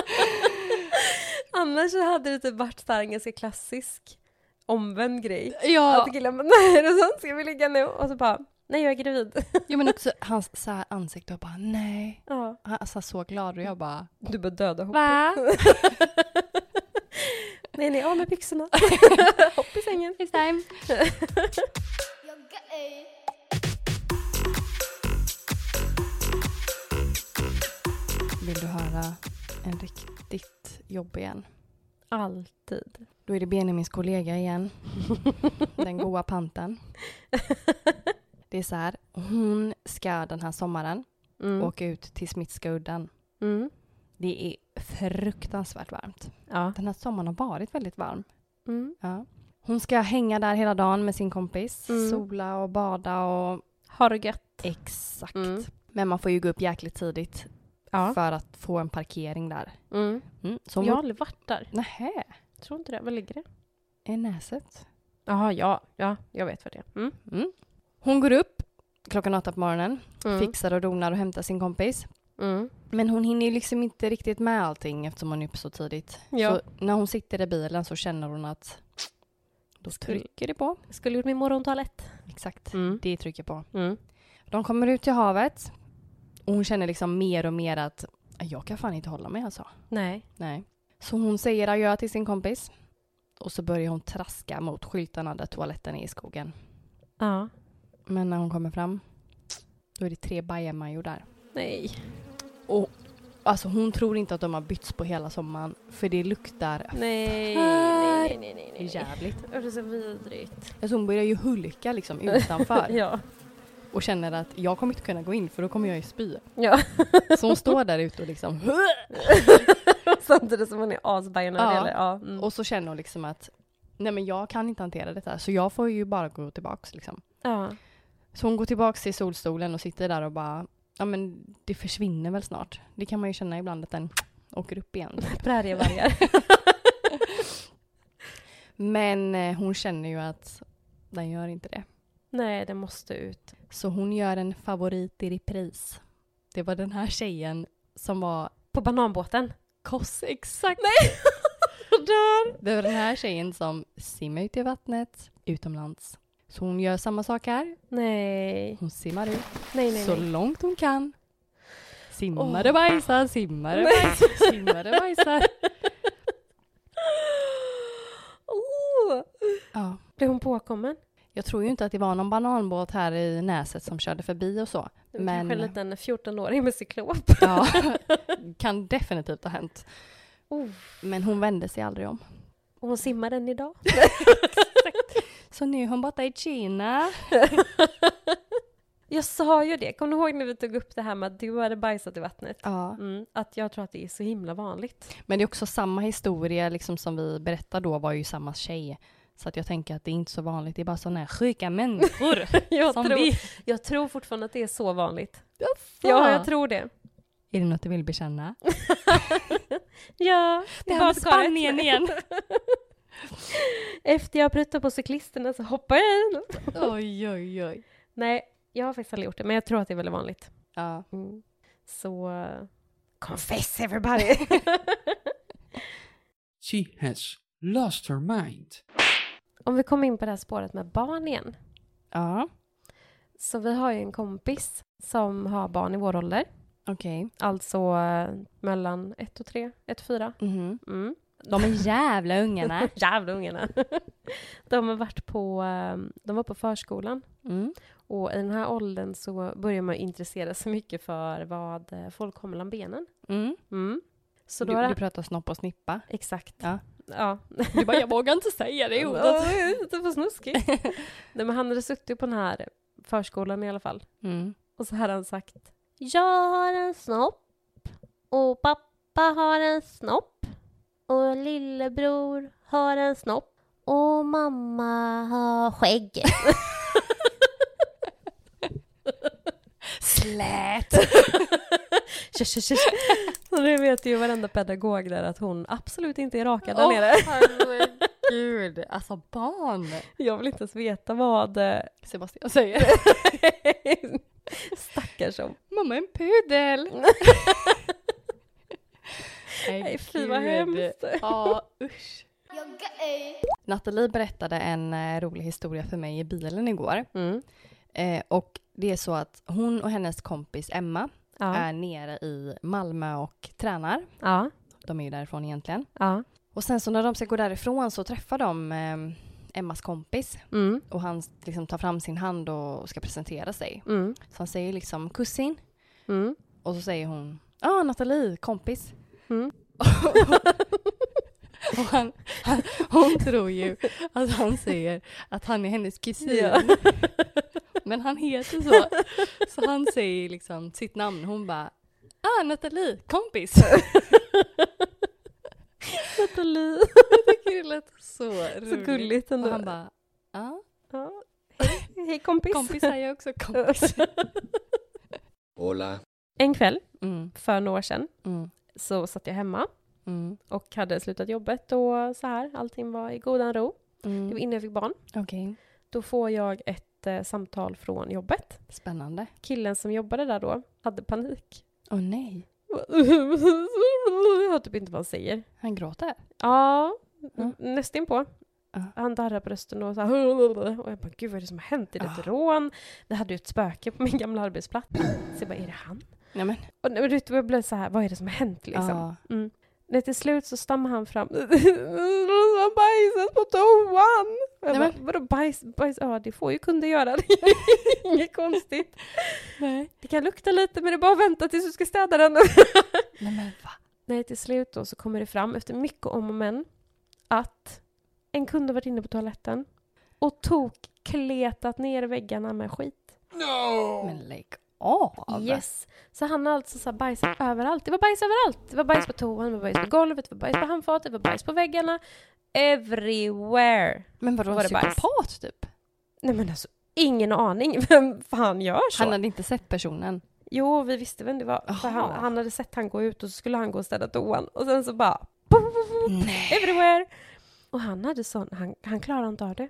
Speaker 2: Annars så hade det typ varit så här en ganska klassisk omvänd grej.
Speaker 1: Ja.
Speaker 2: Att killen bara, nej är det sant? Ska vi ligga nu? Och så bara, nej jag är gravid.
Speaker 1: Ja men också hans så här ansikte och bara nej.
Speaker 2: Ja.
Speaker 1: Han alltså, så glad och jag bara
Speaker 2: Du bara döda hoppet.
Speaker 1: va?
Speaker 2: Nej nej, av med byxorna. Hopp i sängen.
Speaker 1: It's time. Vill du höra en riktigt jobb igen?
Speaker 2: Alltid.
Speaker 1: Då är det Benjamins kollega igen. Den goa panten. Det är så här, hon ska den här sommaren
Speaker 2: Mm.
Speaker 1: åka ut till Smittska udden.
Speaker 2: Mm.
Speaker 1: Det är fruktansvärt varmt.
Speaker 2: Ja.
Speaker 1: Den här sommaren har varit väldigt varm.
Speaker 2: Mm.
Speaker 1: Ja. Hon ska hänga där hela dagen med sin kompis,
Speaker 2: Mm.
Speaker 1: sola och bada och
Speaker 2: Har det gött.
Speaker 1: exakt.
Speaker 2: Mm.
Speaker 1: Men man får ju gå upp jäkligt tidigt
Speaker 2: Ja.
Speaker 1: för att få en parkering där.
Speaker 2: Mm.
Speaker 1: Mm. Så
Speaker 2: Jag
Speaker 1: hon...
Speaker 2: har aldrig varit där.
Speaker 1: Nähä,
Speaker 2: Tror inte det. Var ligger det?
Speaker 1: i näset.
Speaker 2: Jaha, ja. Ja, jag vet vad det är. Mm.
Speaker 1: Mm. Hon går upp klockan åtta på morgonen,
Speaker 2: Mm.
Speaker 1: fixar och donar och hämtar sin kompis.
Speaker 2: Mm.
Speaker 1: Men hon hinner ju liksom inte riktigt med allting eftersom hon är uppe så tidigt.
Speaker 2: Ja.
Speaker 1: Så när hon sitter i bilen så känner hon att då
Speaker 2: Skulle-
Speaker 1: trycker det på.
Speaker 2: Skulle gjort min morgontal ett.
Speaker 1: Exakt,
Speaker 2: Mm.
Speaker 1: det trycker på.
Speaker 2: Mm.
Speaker 1: De kommer ut till havet och hon känner liksom mer och mer att jag kan fan inte hålla mig alltså.
Speaker 2: Nej.
Speaker 1: Nej. Så hon säger adjö till sin kompis och så börjar hon traska mot skyltarna där toaletten är i skogen.
Speaker 2: Ja.
Speaker 1: Men när hon kommer fram då är det tre bajamajor där.
Speaker 2: Nej.
Speaker 1: Och alltså hon tror inte att de har bytts på hela sommaren för det luktar
Speaker 2: Nej. Nej, nej, nej, nej, nej.
Speaker 1: jävligt.
Speaker 2: Och Det är så vidrigt.
Speaker 1: Alltså hon börjar ju hulka liksom utanför
Speaker 2: Ja.
Speaker 1: och känner att jag kommer inte kunna gå in för då kommer jag ju spy.
Speaker 2: Ja.
Speaker 1: Så hon står där ute och liksom
Speaker 2: Samtidigt som hon är asbajernödig.
Speaker 1: Ja.
Speaker 2: eller? Ja. Mm.
Speaker 1: Och så känner hon liksom att nej men jag kan inte hantera detta så jag får ju bara gå tillbaks liksom.
Speaker 2: ja.
Speaker 1: Så hon går tillbaks till solstolen och sitter där och bara ja men det försvinner väl snart. Det kan man ju känna ibland att den åker upp igen.
Speaker 2: Prärievargar.
Speaker 1: Men eh, hon känner ju att den gör inte det.
Speaker 2: nej, det måste ut.
Speaker 1: Så hon gör en favorit i repris. Det var den här tjejen som var
Speaker 2: På bananbåten.
Speaker 1: koss exakt.
Speaker 2: Nej! Jag dör.
Speaker 1: Det var den här tjejen som simmar ut i vattnet utomlands. Så hon gör samma sak här.
Speaker 2: Nej.
Speaker 1: Hon simmar ut.
Speaker 2: Nej, nej,
Speaker 1: så
Speaker 2: nej.
Speaker 1: långt hon kan. Simmar
Speaker 2: Åh.
Speaker 1: och bajsar, simmar och
Speaker 2: Nej.
Speaker 1: bajsar, simmar och bajsar.
Speaker 2: Åh.
Speaker 1: Ja.
Speaker 2: Blev hon påkommen?
Speaker 1: Jag tror ju inte att det var någon bananbåt här i Näset som körde förbi och så.
Speaker 2: Det var Kanske en
Speaker 1: Men
Speaker 2: liten 14-åring med cyklop.
Speaker 1: ja, kan definitivt ha hänt.
Speaker 2: Oh.
Speaker 1: Men hon vände sig aldrig om.
Speaker 2: Och hon simmar än idag.
Speaker 1: Så nu är hon borta i Kina.
Speaker 2: Jag sa ju det. Kommer du ihåg när vi tog upp det här med att du hade bajsat i vattnet?
Speaker 1: Ja.
Speaker 2: Mm, att jag tror att det är så himla vanligt.
Speaker 1: Men det är också samma historia liksom, som vi berättade då var ju samma tjej. Så att jag tänker att det är inte så vanligt, det är bara sådana här sjuka människor
Speaker 2: Jag,
Speaker 1: som
Speaker 2: tror,
Speaker 1: vi.
Speaker 2: jag tror fortfarande att det är så vanligt.
Speaker 1: Fan.
Speaker 2: Ja, jag tror det.
Speaker 1: Är det något du vill bekänna?
Speaker 2: Ja,
Speaker 1: Det här med Spanien igen.
Speaker 2: Efter jag pruttade på cyklisterna så hoppade jag in.
Speaker 1: oj, oj, oj.
Speaker 2: Nej, jag har faktiskt aldrig gjort det, men jag tror att det är väldigt vanligt.
Speaker 1: Ja.
Speaker 2: Mm. Så... eh, Confess everybody!
Speaker 4: She has lost her mind.
Speaker 2: Om vi kommer in på det här spåret med barn igen.
Speaker 1: Ja,
Speaker 2: Så vi har ju en kompis som har barn i vår ålder.
Speaker 1: okej.
Speaker 2: Alltså eh, mellan ett och tre, ett och fyra.
Speaker 1: Mhm.
Speaker 2: Mm.
Speaker 1: De är jävla ungarna.
Speaker 2: Jävla ungarna. de har varit på, eh, de var på förskolan.
Speaker 1: Mm.
Speaker 2: Och i den här åldern så börjar man intressera sig mycket för vad eh, folk har mellan benen.
Speaker 1: Mm.
Speaker 2: Mm. Så då
Speaker 1: Du,
Speaker 2: är
Speaker 1: du
Speaker 2: det...
Speaker 1: pratar snopp och snippa.
Speaker 2: Exakt.
Speaker 1: Ja.
Speaker 2: ja.
Speaker 1: Du bara, jag vågar inte säga det ordet.
Speaker 2: det var snuskigt. Nej, men han hade suttit på den här förskolan i alla fall.
Speaker 1: Mm.
Speaker 2: Och så hade han sagt Jag har en snopp och pappa har en snopp och lillebror har en snopp och mamma har skägg.
Speaker 1: Slät!
Speaker 2: Tja, tja, tja. Och nu vet ju varenda pedagog där att hon absolut inte är rakad där
Speaker 1: Åh,
Speaker 2: nere.
Speaker 1: herregud. Alltså barn.
Speaker 2: Jag vill inte ens veta vad eh,
Speaker 1: Sebastian säger.
Speaker 2: stackars om.
Speaker 1: Mamma är en pudel.
Speaker 2: Nej, fy vad
Speaker 1: Herregud.
Speaker 2: hemskt.
Speaker 1: Ja, usch. Nathalie berättade en eh, rolig historia för mig i bilen igår.
Speaker 2: Mm.
Speaker 1: Eh, och det är så att hon och hennes kompis Emma
Speaker 2: Ja.
Speaker 1: är nere i Malmö och tränar.
Speaker 2: Ja.
Speaker 1: De är ju därifrån egentligen.
Speaker 2: Ja.
Speaker 1: Och sen så när de ska gå därifrån så träffar de eh, Emmas kompis
Speaker 2: Mm.
Speaker 1: och han liksom tar fram sin hand och ska presentera sig.
Speaker 2: Mm.
Speaker 1: Så han säger liksom kusin
Speaker 2: Mm.
Speaker 1: och så säger hon ja ah, Nathalie, kompis.
Speaker 2: Mm.
Speaker 1: och han, han, hon tror ju att han säger att han är hennes kusin.
Speaker 2: Ja.
Speaker 1: Men han heter så. Så han säger liksom sitt namn. Hon bara ah Nathalie, kompis.
Speaker 2: Nathalie.
Speaker 1: Det lät så roligt.
Speaker 2: Så gulligt ändå.
Speaker 1: Och han bara ah,
Speaker 2: Ja. Hej, hej kompis.
Speaker 1: kompis är jag också, kompis.
Speaker 3: Hola.
Speaker 2: En kväll
Speaker 1: Mm,
Speaker 2: för några år sedan
Speaker 1: mm,
Speaker 2: så satt jag hemma
Speaker 1: mm,
Speaker 2: och hade slutat jobbet och så här, allting var i godan ro. Det var
Speaker 1: mm.
Speaker 2: innan jag fick barn.
Speaker 1: Okej,
Speaker 2: Då får jag ett eh, samtal från jobbet.
Speaker 1: spännande.
Speaker 2: Killen som jobbade där då hade panik.
Speaker 1: Åh nej,
Speaker 2: Jag hör typ inte vad han säger.
Speaker 1: han gråter.
Speaker 2: Ja,
Speaker 1: Ja.
Speaker 2: nästan på.
Speaker 1: Ja.
Speaker 2: Han darrar på rösten och så här, och jag bara gud vad är det som har hänt? Är det
Speaker 1: Ah.
Speaker 2: ett rån? Det hade ju ett spöke på min gamla arbetsplats. Så jag bara, är det han?
Speaker 1: Nej men,
Speaker 2: Och nej, men du vet, jag blev så här, vad är det som har hänt liksom?
Speaker 1: ja.
Speaker 2: Nej, till slut så stammar han fram. Han har bajsat på toan! Och Jag
Speaker 1: Nej,
Speaker 2: bara, vadå bajs, bajs? Ja, det får ju kunder göra. Det är inget konstigt.
Speaker 1: Nej.
Speaker 2: Det kan lukta lite, men det är bara att vänta tills du ska städa den.
Speaker 1: Nej men va?
Speaker 2: Nej, till slut då så kommer det fram, efter mycket om och men, att en kund har varit inne på toaletten och tok kletat ner väggarna med skit.
Speaker 1: Men lägg av!
Speaker 2: Yes. Så han har alltså så här bajsat överallt. Det var bajs överallt. Det var bajs på toan, det var bajs på golvet, det var bajs på handfatet, det var bajs på väggarna. Everywhere.
Speaker 1: Men vadå,
Speaker 2: Var
Speaker 1: en
Speaker 2: det bajs?
Speaker 1: psykopat typ?
Speaker 2: Nej men alltså, ingen aning vem fan gör så.
Speaker 1: Han hade inte sett personen.
Speaker 2: Jo, vi visste vem det var. För han,
Speaker 1: Aha.
Speaker 2: han hade sett han gå ut och så skulle han gå och städa toan. Och sen så bara
Speaker 1: Nej.
Speaker 2: everywhere. Och han hade sån, han, han klarade inte av det.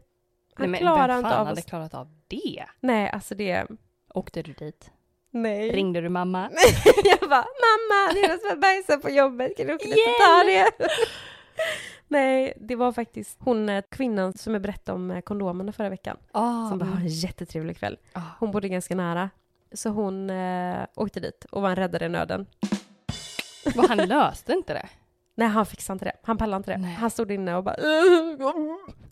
Speaker 2: Han
Speaker 1: men
Speaker 2: klarade
Speaker 1: vem
Speaker 2: inte
Speaker 1: fan
Speaker 2: av
Speaker 1: hade
Speaker 2: att...
Speaker 1: klarat av det?
Speaker 2: Nej, alltså det...
Speaker 1: Åkte du dit?
Speaker 2: Nej.
Speaker 1: Ringde du mamma?
Speaker 2: Jag bara, mamma, det är någon som har bajsat på jobbet, kan du åka dit och ta det? Nej, det var faktiskt hon eh, kvinnan som jag berättade om eh, kondomerna förra veckan.
Speaker 1: Ah,
Speaker 2: Som bara, ha
Speaker 1: mm.
Speaker 2: en jättetrevlig kväll.
Speaker 1: Ah.
Speaker 2: Hon bodde ganska nära. Så hon eh, åkte dit och var en räddare i nöden.
Speaker 1: Vad, han löste inte det?
Speaker 2: Nej, han fixade inte det. Han pallade inte det.
Speaker 1: Nej.
Speaker 2: Han stod inne och bara...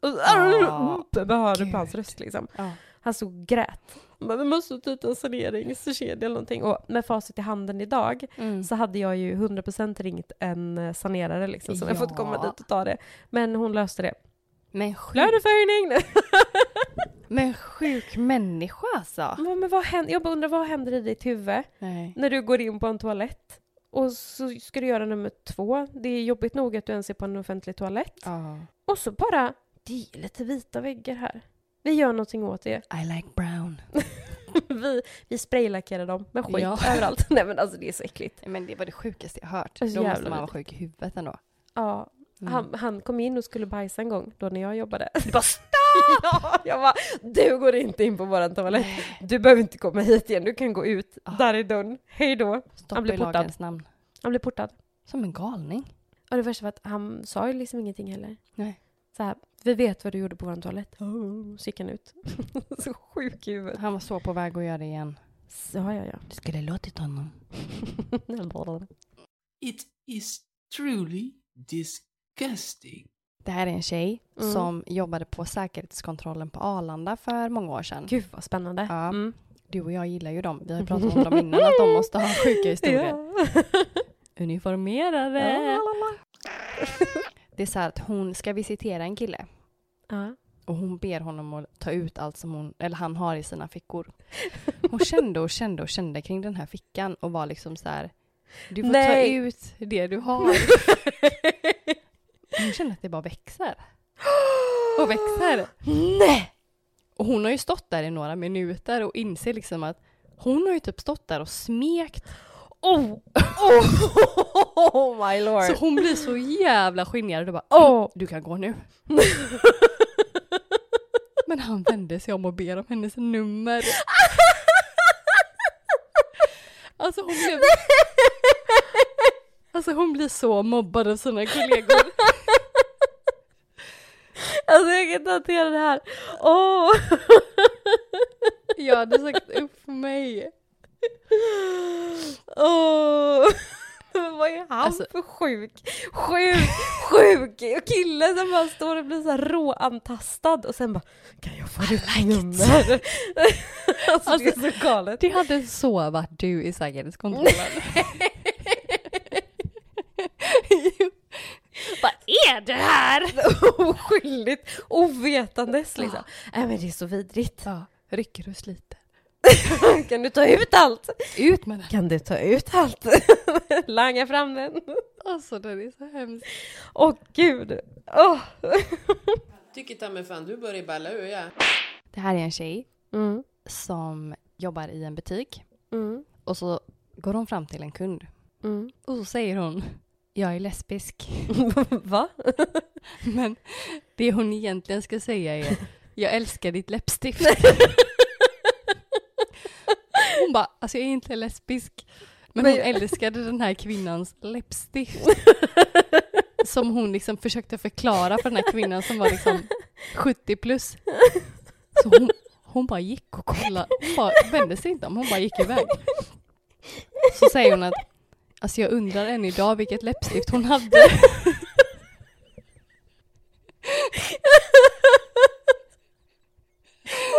Speaker 1: Ah,
Speaker 2: Jag bara hörde på hans
Speaker 1: gud.
Speaker 2: röst liksom.
Speaker 1: Ja.
Speaker 2: Han stod och grät. Men vi måste ta ut en saneringskedja eller någonting. Och med facit i handen idag
Speaker 1: Mm.
Speaker 2: så hade jag ju 100% ringt en eh, sanerare liksom, som jag
Speaker 1: Ja.
Speaker 2: fått komma dit och ta det. Men hon löste det.
Speaker 1: Men sjukt.
Speaker 2: Löneförhöjning!
Speaker 1: Men sjuk människa alltså.
Speaker 2: Men, men vad händer? Jag bara undrar, vad händer i ditt huvud
Speaker 1: Nej.
Speaker 2: när du går in på en toalett? Och så ska du göra nummer två. Det är jobbigt nog att du ens är på en offentlig toalett.
Speaker 1: Ja.
Speaker 2: Och så bara, det är lite vita väggar här. Vi gör någonting åt det.
Speaker 1: I like brown.
Speaker 2: Vi, vi spraylackerar dem med skit
Speaker 1: Ja.
Speaker 2: överallt. Nej men alltså det är så äckligt.
Speaker 1: Men det var det sjukaste jag hört.
Speaker 2: Det är så
Speaker 1: Då måste
Speaker 2: jävla
Speaker 1: man vara sjuk i huvudet ändå.
Speaker 2: Ja,
Speaker 1: Mm.
Speaker 2: han, han kom in och skulle bajsa en gång då när jag jobbade. Du bara stopp! Ja, jag bara, du går inte in på våran toalett. Du behöver inte komma hit igen, du kan gå ut.
Speaker 1: Ah.
Speaker 2: Där är dörren. Hej då.
Speaker 1: Stoppa
Speaker 2: Han
Speaker 1: i
Speaker 2: blev portad.
Speaker 1: lagens namn.
Speaker 2: Han blev portad.
Speaker 1: Som en galning.
Speaker 2: Och det värsta var att han sa ju liksom ingenting heller.
Speaker 1: Nej.
Speaker 2: Så här, vi vet vad du gjorde på våran toalett. Så gick han ut. Oh. så sjuk i huvudet.
Speaker 1: Han var så på väg att göra det igen.
Speaker 2: Så, Ja, ja, ja.
Speaker 1: Du skulle låtit honom.
Speaker 4: It is truly disgusting.
Speaker 1: Det här är en tjej
Speaker 2: Mm.
Speaker 1: som jobbade på säkerhetskontrollen på Arlanda för många år sedan.
Speaker 2: Gud vad spännande.
Speaker 1: Ja.
Speaker 2: Mm.
Speaker 1: Du och jag gillar ju dem. Vi har ju pratat om dem innan att de måste ha sjuka historier. Uniformerade. Det är så här att hon ska visitera en kille
Speaker 2: ja.
Speaker 1: och hon ber honom att ta ut allt som hon, eller han har i sina fickor. Hon kände och kände och kände kring den här fickan och var liksom så här. Du får
Speaker 2: Nej.
Speaker 1: ta ut det du har. Hon kände att det bara växer. Och växer.
Speaker 2: Nej!
Speaker 1: Och hon har ju stått där i några minuter och inser liksom att hon har ju typ stått där och smekt.
Speaker 2: Oh! Oh, my lord.
Speaker 1: Så hon blir så jävla generad och bara
Speaker 2: Åh.
Speaker 1: du kan gå nu. Men han vände sig om och ber om hennes nummer. Alltså hon blev... Alltså hon blir så mobbad av sina kollegor.
Speaker 2: Alltså jag kan inte hantera det här. Åh!
Speaker 1: Jag hade sagt upp mig.
Speaker 2: Åh! Men Vad är han
Speaker 1: Alltså-
Speaker 2: för sjuk, sjuk, sjuk kille som bara står och blir så här råantastad och sen bara kan jag få ditt nummer? alltså, det
Speaker 1: Alltså,
Speaker 2: är så galet.
Speaker 1: Det hade så varit du i säkerhetskontrollen.
Speaker 2: Vad är det här? Oskyldigt, ovetandes liksom. Nej men det är så vidrigt.
Speaker 1: Ja, rycker och sliter.
Speaker 2: Kan du ta ut allt?
Speaker 1: Ut med den.
Speaker 2: Kan du ta ut allt? Langa fram den.
Speaker 1: Alltså den är så hemsk.
Speaker 2: Åh gud. Åh.
Speaker 5: Tycker ta mig fan du börjar balla ur ja.
Speaker 1: Det här är en tjej
Speaker 2: Mm.
Speaker 1: som jobbar i en butik
Speaker 2: Mm.
Speaker 1: och så går hon fram till en kund
Speaker 2: Mm.
Speaker 1: och så säger hon jag är lesbisk.
Speaker 2: Va?
Speaker 1: Men det hon egentligen ska säga är jag älskar ditt läppstift. Hon bara, alltså jag är inte lesbisk. Men,
Speaker 2: Men
Speaker 1: hon
Speaker 2: jag-
Speaker 1: älskade den här kvinnans läppstift. Som hon liksom försökte förklara för den här kvinnan som var liksom 70 plus. Så hon, hon bara gick och kollade, hon bara vände sig inte om, hon bara gick iväg. Så säger hon att, alltså jag undrar än idag vilket läppstift hon hade.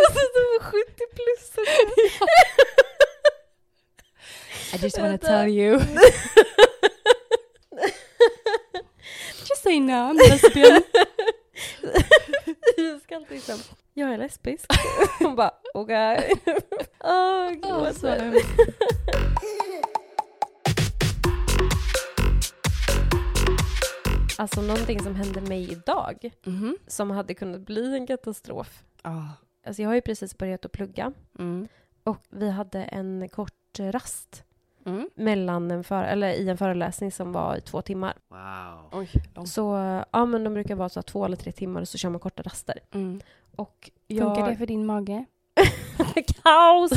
Speaker 2: Alltså det var 70 plus.
Speaker 1: I just wanna tell you. just say no, I'm lesbian.
Speaker 2: Jag ska inte liksom. Jag är lesbisk. Hon bara okej. Åh gud vad
Speaker 1: Alltså,
Speaker 2: så.
Speaker 1: hemskt.
Speaker 2: Alltså någonting som hände mig idag
Speaker 1: Mhm.
Speaker 2: som hade kunnat bli en katastrof.
Speaker 1: Ja.
Speaker 2: Alltså jag har ju precis börjat att plugga
Speaker 1: Mm.
Speaker 2: och vi hade en kort rast
Speaker 1: Mm.
Speaker 2: mellan en före- eller i en föreläsning som var i två timmar.
Speaker 5: Wow.
Speaker 1: Oj, långt.
Speaker 2: Så ja men de brukar vara så här två eller tre timmar och så kör man korta raster.
Speaker 1: Mm.
Speaker 2: Och jag...
Speaker 1: Funkar det för din mage?
Speaker 2: Kaos!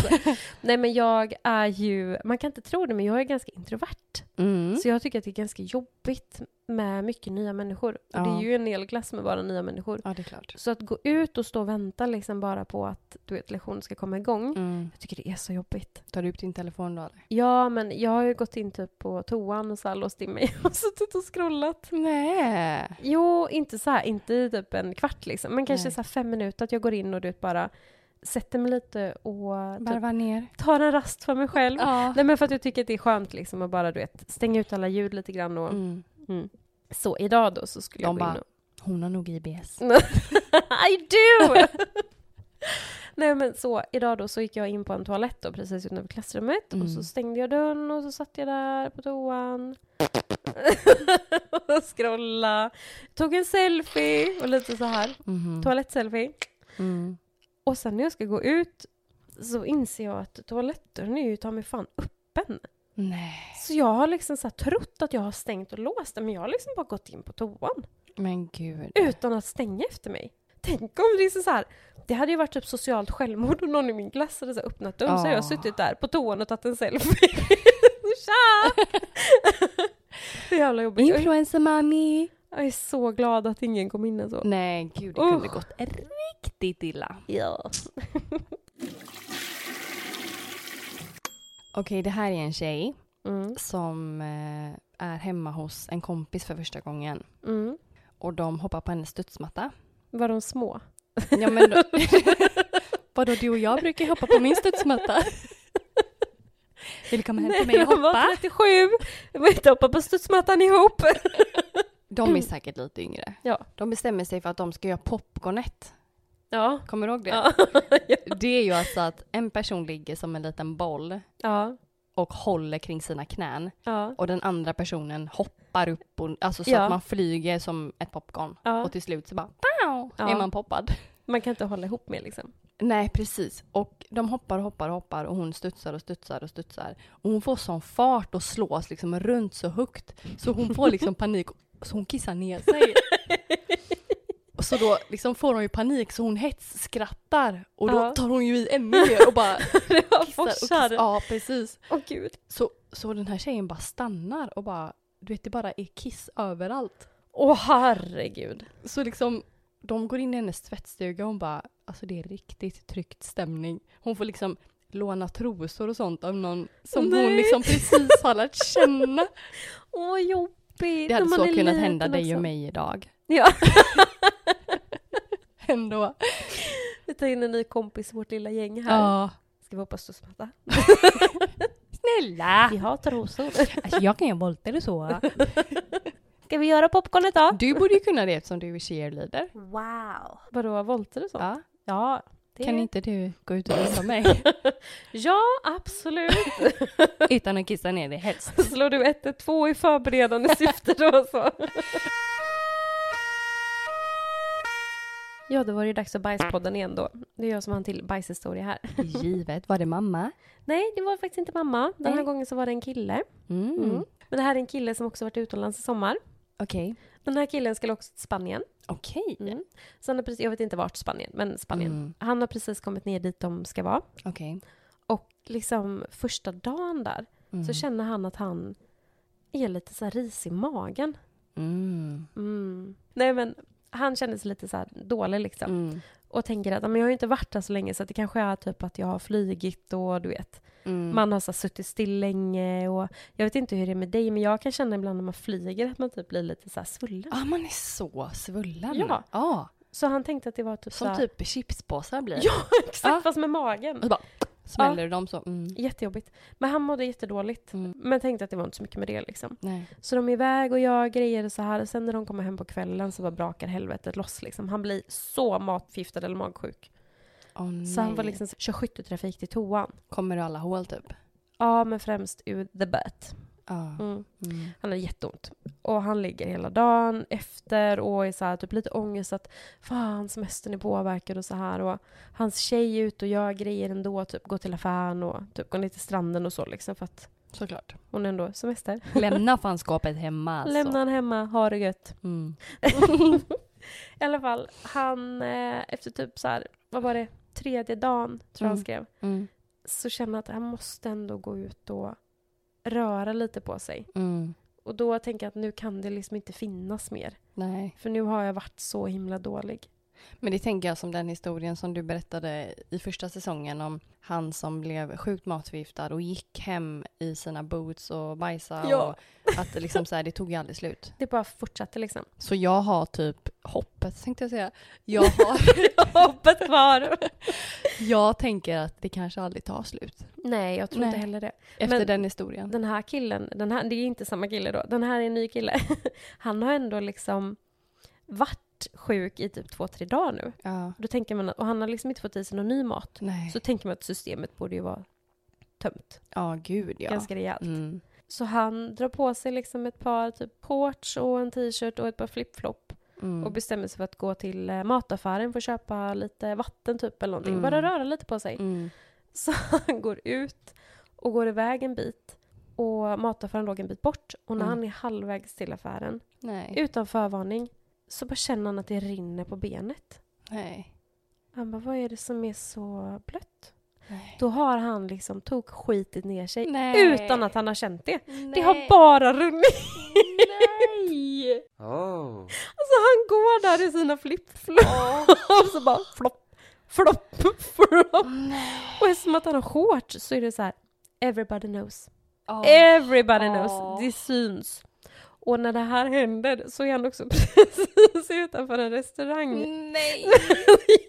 Speaker 2: Nej men jag är ju, man kan inte tro det men jag är ganska introvert.
Speaker 1: Mm.
Speaker 2: Så jag tycker att det är ganska jobbigt med mycket nya människor. Och det
Speaker 1: Ja.
Speaker 2: är ju en hel klass med bara nya människor.
Speaker 1: Ja, det är klart.
Speaker 2: Så att gå ut och stå och vänta liksom bara på att du vet, lektionen ska komma igång.
Speaker 1: Mm.
Speaker 2: Jag tycker det är så jobbigt.
Speaker 1: Tar du upp din telefon då? Eller?
Speaker 2: Ja men jag har ju gått in typ på toan och så här låst in mig och suttit och scrollat.
Speaker 1: Nej.
Speaker 2: Jo, inte så här, inte i typ en kvart liksom. Men kanske
Speaker 1: Nej.
Speaker 2: så här fem minuter att jag går in och du vet bara sätter mig lite och typ,
Speaker 1: Varva ner.
Speaker 2: tar en rast för mig själv.
Speaker 1: Ja.
Speaker 2: Nej men för att jag tycker att det är skönt liksom att bara du vet stänga ut alla ljud lite grann och
Speaker 1: Mm.
Speaker 2: så idag då så skulle
Speaker 1: De
Speaker 2: jag gå
Speaker 1: bara,
Speaker 2: in och...
Speaker 1: hon har nog IBS.
Speaker 2: I do! Nej men så, idag då så gick jag in på en toalett då precis utanför klassrummet och så
Speaker 1: Mm.
Speaker 2: stängde jag dörren och så satt jag där på toan. och scrolla. Tog en selfie och lite så här.
Speaker 1: Mhm.
Speaker 2: Toalettselfie.
Speaker 1: Mm.
Speaker 2: Och sen när jag ska gå ut så inser jag att toalettdörren är ju ta mig fan öppen.
Speaker 1: Nej,
Speaker 2: Så jag har liksom så här trott att jag har stängt och låst den men jag har liksom bara gått in på toan
Speaker 1: men gud.
Speaker 2: utan att stänga efter mig. Tänk om det är så här, det hade ju varit typ socialt självmord om någon i min klass hade så här öppnat dörren så har jag
Speaker 1: Ja.
Speaker 2: suttit där på toan och tagit en selfie. Tja! det är jävla jobbigt. Jag är-
Speaker 1: Influencer mommy.
Speaker 2: Jag är så glad att ingen kom in så.
Speaker 1: Nej, gud det
Speaker 2: Usch.
Speaker 1: kunde gått riktigt illa.
Speaker 2: Ja.
Speaker 1: Okej, det här är en tjej
Speaker 2: Mm.
Speaker 1: som eh, är hemma hos en kompis för första gången.
Speaker 2: Mm.
Speaker 1: Och de hoppar på hennes studsmatta.
Speaker 2: Var de små?
Speaker 1: Ja, men då, vadå, du och jag brukar hoppa på min studsmatta. Vill du komma hem till mig och
Speaker 2: de
Speaker 1: hoppa?
Speaker 2: var 37! De var inte hoppa på studsmattan ihop.
Speaker 1: De är säkert lite yngre.
Speaker 2: Mm. Ja.
Speaker 1: De bestämmer sig för att de ska göra popcornet.
Speaker 2: Ja.
Speaker 1: Kommer du ihåg det?
Speaker 2: Ja.
Speaker 1: Det är ju alltså att en person ligger som en liten boll
Speaker 2: ja.
Speaker 1: och håller kring sina knän
Speaker 2: ja.
Speaker 1: och den andra personen hoppar upp och, alltså så
Speaker 2: Ja.
Speaker 1: att man flyger som ett popcorn.
Speaker 2: Ja.
Speaker 1: Och till slut så bara pow,
Speaker 2: Ja.
Speaker 1: är man poppad.
Speaker 2: Man kan inte hålla ihop med liksom.
Speaker 1: Nej precis. Och de hoppar och hoppar och hoppar och hon studsar och studsar och studsar. Och hon får sån fart och slås liksom runt så högt så hon får liksom panik så hon kissar ner sig. Och så då liksom får hon ju panik så hon hetskrattar och då
Speaker 2: Ja.
Speaker 1: tar hon ju i ännu mer och bara
Speaker 2: Det var
Speaker 1: kissar och
Speaker 2: forsar.
Speaker 1: kissar.
Speaker 2: Åh
Speaker 1: Ja precis.
Speaker 2: gud.
Speaker 1: Så, så den här tjejen bara stannar och bara, du vet det bara är kiss överallt.
Speaker 2: Åh herregud.
Speaker 1: Så liksom, de går in i hennes tvättstuga och hon bara, alltså det är riktigt tryckt stämning. Hon får liksom låna trosor och sånt av någon som hon
Speaker 2: Nej.
Speaker 1: liksom precis har lärt känna.
Speaker 2: Åh vad jobbigt.
Speaker 1: Det hade
Speaker 2: När man
Speaker 1: så
Speaker 2: är
Speaker 1: kunnat
Speaker 2: liten
Speaker 1: hända dig
Speaker 2: också.
Speaker 1: och mig idag.
Speaker 2: Ja.
Speaker 1: Ändå.
Speaker 2: Vi tar in en ny kompis i vårt lilla gäng här.
Speaker 1: Ja.
Speaker 2: Ska vi hoppa studsmatta?
Speaker 1: Snälla!
Speaker 2: Vi har trosor.
Speaker 1: Alltså jag kan göra volter och så.
Speaker 2: Ska vi göra popcornet då?
Speaker 1: Du borde ju kunna det eftersom du är cheerleader.
Speaker 2: Wow. Vadå, volter och sånt?
Speaker 1: Ja.
Speaker 2: Ja. Det...
Speaker 1: Kan inte du gå ut och visa mig?
Speaker 2: Ja, absolut.
Speaker 1: Utan att kissa ner dig helst.
Speaker 2: Slår du 112 i förberedande syfte då så. Ja, då var det ju dags för Bajspodden igen då. Det är jag som har en till bajshistoria här.
Speaker 1: Givet. Var det mamma?
Speaker 2: Nej, det var faktiskt inte mamma. Den här
Speaker 1: Nej.
Speaker 2: gången så var det en kille.
Speaker 1: Mm.
Speaker 2: Mm. Men det här är en kille som också varit utomlands i sommar.
Speaker 1: Okej.
Speaker 2: Den här killen skulle också till Spanien.
Speaker 1: Okej.
Speaker 2: Mm. Så han har precis, jag vet inte vart Spanien, men Spanien.
Speaker 1: Mm.
Speaker 2: Han har precis kommit ner dit de ska vara.
Speaker 1: Okej.
Speaker 2: Och liksom första dagen där
Speaker 1: Mm.
Speaker 2: så känner han att han är lite så här risig i magen.
Speaker 1: Mm.
Speaker 2: Mm. Nej men han kände sig lite så här dålig liksom.
Speaker 1: Mm.
Speaker 2: Och tänker att "Ja, men jag har ju inte varit där så länge så att det kanske är typ att jag har flygit och du vet.
Speaker 1: Mm.
Speaker 2: Man har så här, suttit still länge och jag vet inte hur det är med dig men jag kan känna ibland när man flyger att man typ blir lite så här svullen.
Speaker 1: Ah, man är så svullen.
Speaker 2: Ja.
Speaker 1: Ah,
Speaker 2: Så han tänkte att det var typ så
Speaker 1: som
Speaker 2: här,
Speaker 1: typ chipspåsar blir.
Speaker 2: Ja exakt
Speaker 1: Ja.
Speaker 2: fast med magen.
Speaker 1: Och bara smäller du dem så. Mm.
Speaker 2: Jättejobbigt. Men han mådde jättedåligt.
Speaker 1: Mm.
Speaker 2: Men tänkte att det var inte så mycket med det liksom.
Speaker 1: Nej.
Speaker 2: Så de är iväg och gör grejer och så här. Och sen när de kommer hem på kvällen så bara brakar helvetet loss liksom. Han blir så matförgiftad eller magsjuk.
Speaker 1: Åh, nej.
Speaker 2: Så han var liksom, kör skytteltrafik till toan.
Speaker 1: Kommer du alla hål typ?
Speaker 2: Ja, men främst ur the butt.
Speaker 1: Ah.
Speaker 2: Mm.
Speaker 1: Mm.
Speaker 2: Han har jätteont. Och han ligger hela dagen efter och är så här, typ lite ångest att fan semestern är påverkad och så här. Och hans tjej är ute och gör grejer ändå, typ går till affären och typ går ner till stranden och så liksom för att
Speaker 1: Såklart.
Speaker 2: hon är ändå semester.
Speaker 1: Lämna fanskapet hemma alltså.
Speaker 2: Lämnar han hemma, har det gött.
Speaker 1: Mm.
Speaker 2: I alla fall, han eh, efter typ så här, vad var det, tredje dagen tror jag han
Speaker 1: Mm.
Speaker 2: skrev.
Speaker 1: Mm.
Speaker 2: så känner jag att han måste ändå gå ut och röra lite på sig.
Speaker 1: Mm.
Speaker 2: Och då tänker jag att nu kan det liksom inte finnas mer.
Speaker 1: Nej.
Speaker 2: För nu har jag varit så himla dålig.
Speaker 1: Men det tänker jag som den historien som du berättade i första säsongen om han som blev sjukt matförgiftad och gick hem i sina boots och bajsade.
Speaker 2: Ja.
Speaker 1: Och att det liksom så här, det tog ju aldrig slut.
Speaker 2: Det bara fortsatte liksom.
Speaker 1: Så jag har typ hoppet tänkte jag säga. Jag, har,
Speaker 2: Hoppet kvar!
Speaker 1: jag tänker att det kanske aldrig tar slut.
Speaker 2: Nej, jag tror
Speaker 1: Nej.
Speaker 2: inte heller det.
Speaker 1: Efter
Speaker 2: Men-
Speaker 1: den historien.
Speaker 2: Den här killen, den här, det är inte samma kille då. Den här är en ny kille. Han har ändå liksom varit varit sjuk i typ två, tre dagar nu.
Speaker 1: Ja.
Speaker 2: Då tänker man att, och han har liksom inte fått i sig någon ny mat.
Speaker 1: Nej.
Speaker 2: Så tänker man att systemet borde ju vara tömt
Speaker 1: Ja, gud ja.
Speaker 2: ganska rejält.
Speaker 1: Mm.
Speaker 2: Så han drar på sig liksom ett par typ shorts och en t-shirt och ett par flip-flop
Speaker 1: Mm.
Speaker 2: och bestämmer sig för att gå till eh, mataffären för att köpa lite vatten typ eller någonting.
Speaker 1: Mm.
Speaker 2: Bara röra lite på sig.
Speaker 1: Mm.
Speaker 2: Så han går ut och går iväg en bit och mataffären låg en bit bort och när
Speaker 1: Mm.
Speaker 2: han är halvvägs till affären
Speaker 1: Nej.
Speaker 2: utan förvarning så bara känner han att det rinner på benet.
Speaker 1: Nej.
Speaker 2: Han bara, vad är det som är så blött?
Speaker 1: Nej.
Speaker 2: Då har han liksom tog skitit ner sig
Speaker 1: Nej.
Speaker 2: utan att han har känt det.
Speaker 1: Nej.
Speaker 2: Det har bara runnit.
Speaker 1: Nej!
Speaker 6: Oh.
Speaker 2: Alltså han går där i sina flipflops och så bara flopp, flopp, flopp. Och eftersom att han har shorts så är det så här, everybody knows.
Speaker 1: Åh.
Speaker 2: Everybody
Speaker 1: Åh.
Speaker 2: knows. Det syns. Och när det här händer så är han också precis utanför en restaurang.
Speaker 1: Nej!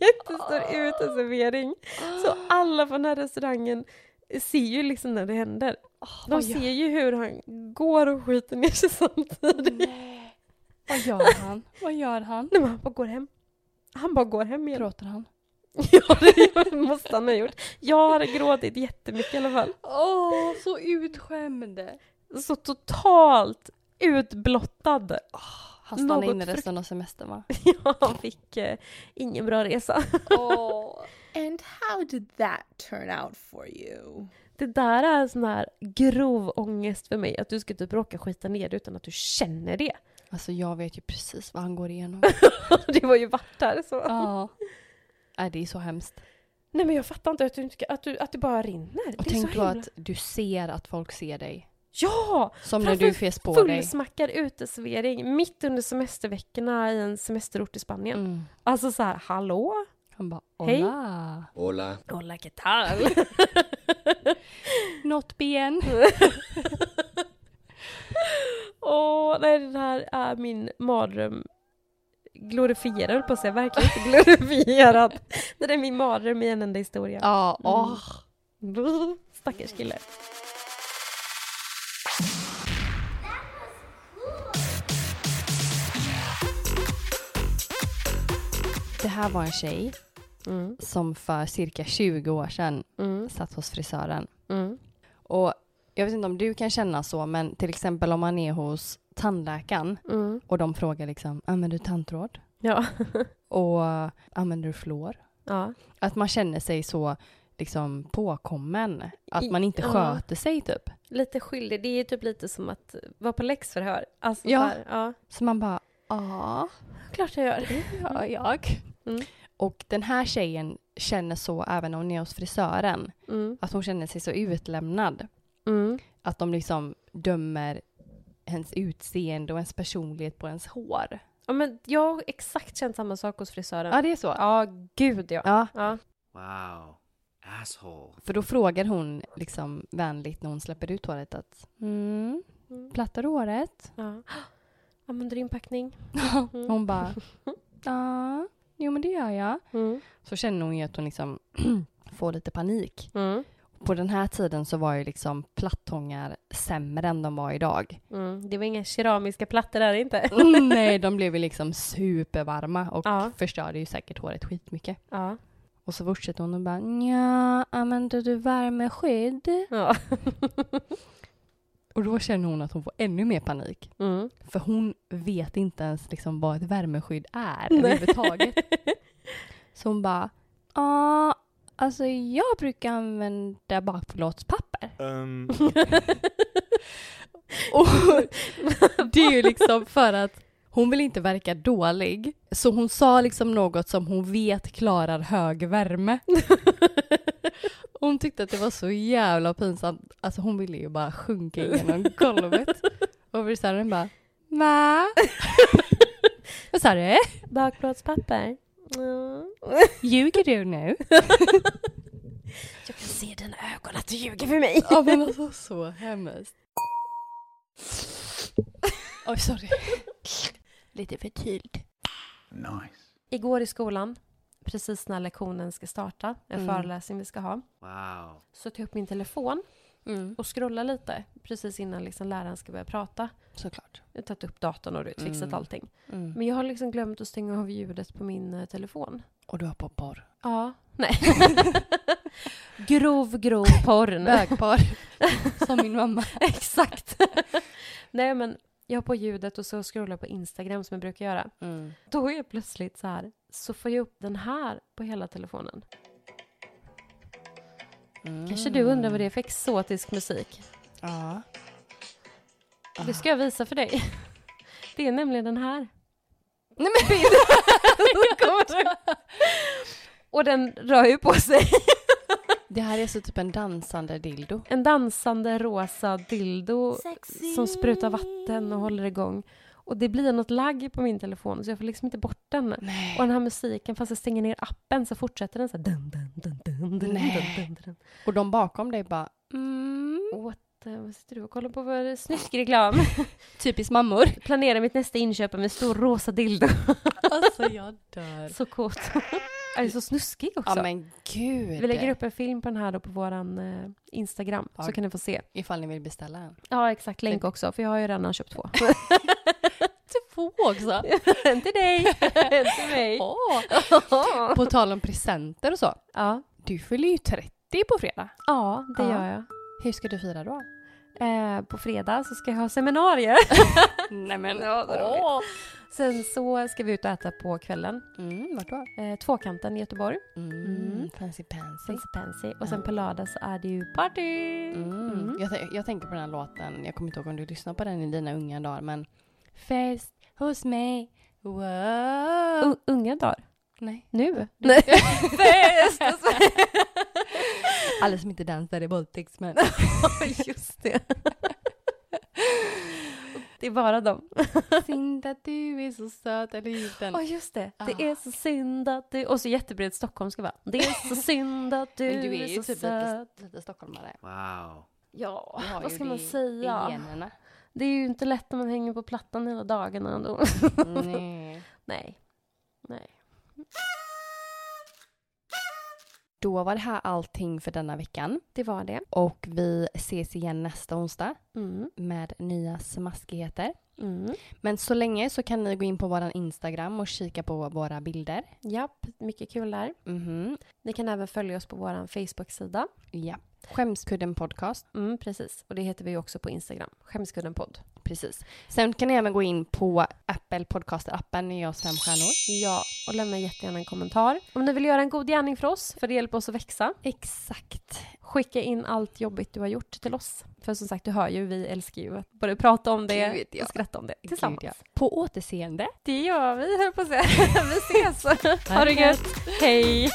Speaker 2: Jättestor uteservering. Så alla på den här restaurangen ser ju liksom när det händer. De
Speaker 1: vad
Speaker 2: ser ju hur han går och skiter ner sig samtidigt.
Speaker 1: Nej. Vad gör han? Vad gör han?
Speaker 2: Nej, men han bara går hem. Han bara går hem igen.
Speaker 1: Gråter han?
Speaker 2: Ja, det måste han ha gjort. Jag har gråtit jättemycket i alla fall.
Speaker 1: Åh, så utskämd!
Speaker 2: Så totalt utblottad.
Speaker 1: Han stannar
Speaker 2: Något
Speaker 1: inne resten av semestern va?
Speaker 2: Ja, han fick eh, ingen bra resa.
Speaker 7: And how did that turn out for you?
Speaker 2: Det där är sån här grov ångest för mig, att du ska typ råka skita ner det utan att du känner det.
Speaker 1: Alltså jag vet ju precis vad han går igenom.
Speaker 2: Det var ju vart där så.
Speaker 1: Ja. Nej, Äh, det är så hemskt.
Speaker 2: Nej men jag fattar inte att, du inte, ska- att, du, att det bara rinner.
Speaker 1: Och
Speaker 2: det är så
Speaker 1: tänk då
Speaker 2: himla...
Speaker 1: att du ser att folk ser dig.
Speaker 2: Ja!
Speaker 1: Som när
Speaker 2: Framför
Speaker 1: du fes på dig.
Speaker 2: Fullsmackad uteservering mitt under semesterveckorna i en semesterort i Spanien.
Speaker 1: Mm.
Speaker 2: Alltså så här, hallå?
Speaker 1: Han bara
Speaker 2: Hej.
Speaker 1: hola.
Speaker 6: Hola.
Speaker 2: Hola, ¿qué tal?
Speaker 1: Något ben.
Speaker 2: Åh, nej det här är min mardröm glorifierad, höll på att säga, verkligen inte glorifierad. Nej, det är min mardröm i en enda historia.
Speaker 1: Ja, åh.
Speaker 2: Mm. Stackars kille.
Speaker 1: Det här var en tjej
Speaker 2: Mm,
Speaker 1: som för cirka 20 år sedan
Speaker 2: mm,
Speaker 1: satt hos frisören.
Speaker 2: mm.
Speaker 1: Och jag vet inte om du kan känna så, men till exempel om man är hos tandläkaren
Speaker 2: Mm.
Speaker 1: och de frågar liksom, använder du tandtråd?
Speaker 2: Ja.
Speaker 1: Och använder du fluor?
Speaker 2: ja.
Speaker 1: Att man känner sig så liksom påkommen. Att
Speaker 2: I-
Speaker 1: man inte
Speaker 2: ja.
Speaker 1: sköter sig typ.
Speaker 2: Lite skyldig, det är ju typ lite som att vara på läxförhör. Alltså,
Speaker 1: Ja.
Speaker 2: ja. Där, ja.
Speaker 1: Så man bara, ja,
Speaker 2: Klart jag gör.
Speaker 1: ja jag.
Speaker 2: Mm.
Speaker 1: Och den här tjejen känner så även om hon är hos frisören.
Speaker 2: Mm,
Speaker 1: Att hon känner sig så utlämnad.
Speaker 2: mm,
Speaker 1: Att de liksom dömer ens utseende och ens personlighet på ens hår.
Speaker 2: Ja, men jag har exakt känt samma sak hos frisören.
Speaker 1: Ja, det är så.
Speaker 2: Ja, gud ja.
Speaker 1: Ja,
Speaker 2: Ja.
Speaker 6: Wow. Asshole.
Speaker 1: för då frågar hon liksom vänligt när hon släpper ut håret att mm, plattar du håret?
Speaker 2: ja. Använder du inpackning? Mm.
Speaker 1: Hon bara, ja, jo men det gör jag.
Speaker 2: Mm.
Speaker 1: Så känner hon ju att hon liksom får lite panik.
Speaker 2: Mm.
Speaker 1: På den här tiden så var ju liksom plattångar sämre än de var idag.
Speaker 2: Mm. Det var inga keramiska plattor där inte.
Speaker 1: Nej, de blev ju liksom supervarma och
Speaker 2: Ja.
Speaker 1: förstörde ju säkert håret skitmycket.
Speaker 2: Ja.
Speaker 1: Och så fortsätter hon och bara nja, använder du värmeskydd?
Speaker 2: ja.
Speaker 1: Och då känner hon att hon får ännu mer panik.
Speaker 2: Mm.
Speaker 1: För hon vet inte ens liksom vad ett värmeskydd är
Speaker 2: Nej.
Speaker 1: överhuvudtaget. Så hon bara, ja, alltså jag brukar använda bakplåtspapper.
Speaker 3: Um,
Speaker 1: Och det är ju liksom för att hon vill inte verka dålig. Så hon sa liksom något som hon vet klarar hög värme. Hon tyckte att det var så jävla pinsamt. Alltså hon ville ju bara sjunka genom golvet. Och frisören bara Va? Vad sa du?
Speaker 2: Bakplåtspapper. Mm.
Speaker 1: Ljuger du nu?
Speaker 2: Jag kan se i dina ögon att du ljuger för mig.
Speaker 1: Ja men alltså så hemskt. Oj sorry. Lite förkyld.
Speaker 4: Nice.
Speaker 2: Igår i skolan, precis när lektionen ska starta, en
Speaker 1: Mm.
Speaker 2: föreläsning vi ska ha,
Speaker 6: Wow.
Speaker 2: så tog jag upp min telefon
Speaker 1: Mm.
Speaker 2: och scrolla lite precis innan liksom läraren ska börja prata.
Speaker 1: Såklart.
Speaker 2: Jag har tagit upp datorn och du vet, fixat
Speaker 1: Mm.
Speaker 2: allting.
Speaker 1: Mm.
Speaker 2: Men jag har liksom glömt att stänga av ljudet på min eh, telefon.
Speaker 1: Och du har på porr.
Speaker 2: Ja, nej. grov, grov porr.
Speaker 1: Bögporr. Som min mamma.
Speaker 2: Exakt. nej men jag har på ljudet och så scrollar jag på Instagram som jag brukar göra.
Speaker 1: Mm.
Speaker 2: Då är jag plötsligt så här, så får jag upp den här på hela telefonen. Kanske du undrar vad det är för exotisk musik?
Speaker 1: Ja.
Speaker 2: Det ska jag visa för dig. Det är nämligen den här.
Speaker 1: Nej men!
Speaker 2: Och den rör ju på sig.
Speaker 1: Det här är så typ en dansande dildo.
Speaker 2: En dansande rosa dildo som sprutar vatten och håller igång. Och det blir något lagg på min telefon så jag får liksom inte bort den.
Speaker 1: Nej.
Speaker 2: Och den här musiken, fast jag stänger ner appen så fortsätter den så här. Dun, dun, dun, dun, dun,
Speaker 1: Nej.
Speaker 2: dun, dun, dun.
Speaker 1: Och de bakom dig bara mm.
Speaker 2: What, eh, vad sitter du och kollar på för snuskig reklam?
Speaker 1: Typiskt mammor.
Speaker 2: Planerar mitt nästa inköp med en stor rosa dildo.
Speaker 1: Alltså jag dör.
Speaker 2: Så kåt. Är det så snuskig också?
Speaker 1: Ja men gud.
Speaker 2: Vi lägger upp en film på den här då på våran eh, Instagram så
Speaker 1: Ja.
Speaker 2: kan ni få se.
Speaker 1: Ifall ni vill beställa en.
Speaker 2: Ja exakt, länk också för jag har ju redan köpt två.
Speaker 1: Två också.
Speaker 2: en till dig, en till mig.
Speaker 1: Åh. På tal om presenter och så.
Speaker 2: Ja,
Speaker 1: Du fyller ju 30 på fredag.
Speaker 2: ja det
Speaker 1: Ja.
Speaker 2: gör jag.
Speaker 1: Hur ska du fira då?
Speaker 2: Eh, på fredag så ska jag ha seminarier.
Speaker 1: Nej men.
Speaker 2: Ja, vad roligt.
Speaker 1: åh.
Speaker 2: Sen så ska vi ut och äta på kvällen.
Speaker 1: Mm, vart då?
Speaker 2: Eh, tvåkanten i Göteborg. Mm.
Speaker 1: Fancy pansy.
Speaker 2: Sen så Pansy. Och sen
Speaker 1: Ja.
Speaker 2: på lördag så är det ju party.
Speaker 1: Mm.
Speaker 2: Mm.
Speaker 1: Jag, tän- jag tänker på den här låten, jag kommer inte ihåg om du lyssnar på den i dina unga dagar men Fest hos mig, wow.
Speaker 2: U- unga dagar.
Speaker 1: Nej.
Speaker 2: Nu.
Speaker 1: Fest alltså. hos mig. Alla som inte dansar är våldtäktsmän.
Speaker 2: Just det. det är bara dem.
Speaker 1: Synd att du är så söt, eller hur gick den?
Speaker 2: Ja, just det. Det
Speaker 1: Ah.
Speaker 2: är så synd att du... Och så jättebred stockholmska, va? Det är så synd att du,
Speaker 1: Men du är ju
Speaker 2: så
Speaker 1: typ lite,
Speaker 2: söt.
Speaker 1: lite stockholmare.
Speaker 6: Wow.
Speaker 2: Ja,
Speaker 1: Du har
Speaker 2: vad
Speaker 1: ju
Speaker 2: ska
Speaker 1: det
Speaker 2: man
Speaker 1: i- i
Speaker 2: säga?
Speaker 1: generna.
Speaker 2: Det är ju inte lätt när man hänger på plattan hela dagarna ändå.
Speaker 1: Nej.
Speaker 2: Nej. Nej.
Speaker 1: Då var det här allting för denna veckan
Speaker 2: Det var det.
Speaker 1: och vi ses igen nästa onsdag
Speaker 2: Mm.
Speaker 1: med nya smaskigheter.
Speaker 2: Mm.
Speaker 1: Men så länge så kan ni gå in på vår Instagram och kika på våra bilder.
Speaker 2: Japp, mycket kul där.
Speaker 1: Mhm.
Speaker 2: Ni kan även följa oss på vår Facebook-sida.
Speaker 1: Ja. Skämskudden podcast.
Speaker 2: Mm, precis. Och det heter vi ju också på Instagram. Skämskudden podd.
Speaker 1: Precis. Sen kan ni även gå in på Apple Podcaster-appen och ge oss fem stjärnor.
Speaker 2: Ja, och lämna jättegärna en kommentar. Om ni vill göra en god gärning för oss, för det hjälper oss att växa,
Speaker 1: Exakt.
Speaker 2: skicka in allt jobbigt du har gjort till oss. För som sagt, du hör ju, vi älskar ju att både prata om det
Speaker 1: Gud, ja.
Speaker 2: och skratta om det
Speaker 1: Gud,
Speaker 2: tillsammans.
Speaker 1: ja. På återseende.
Speaker 2: Det gör vi, höll på att säga. vi ses! Ha det gött! Hej!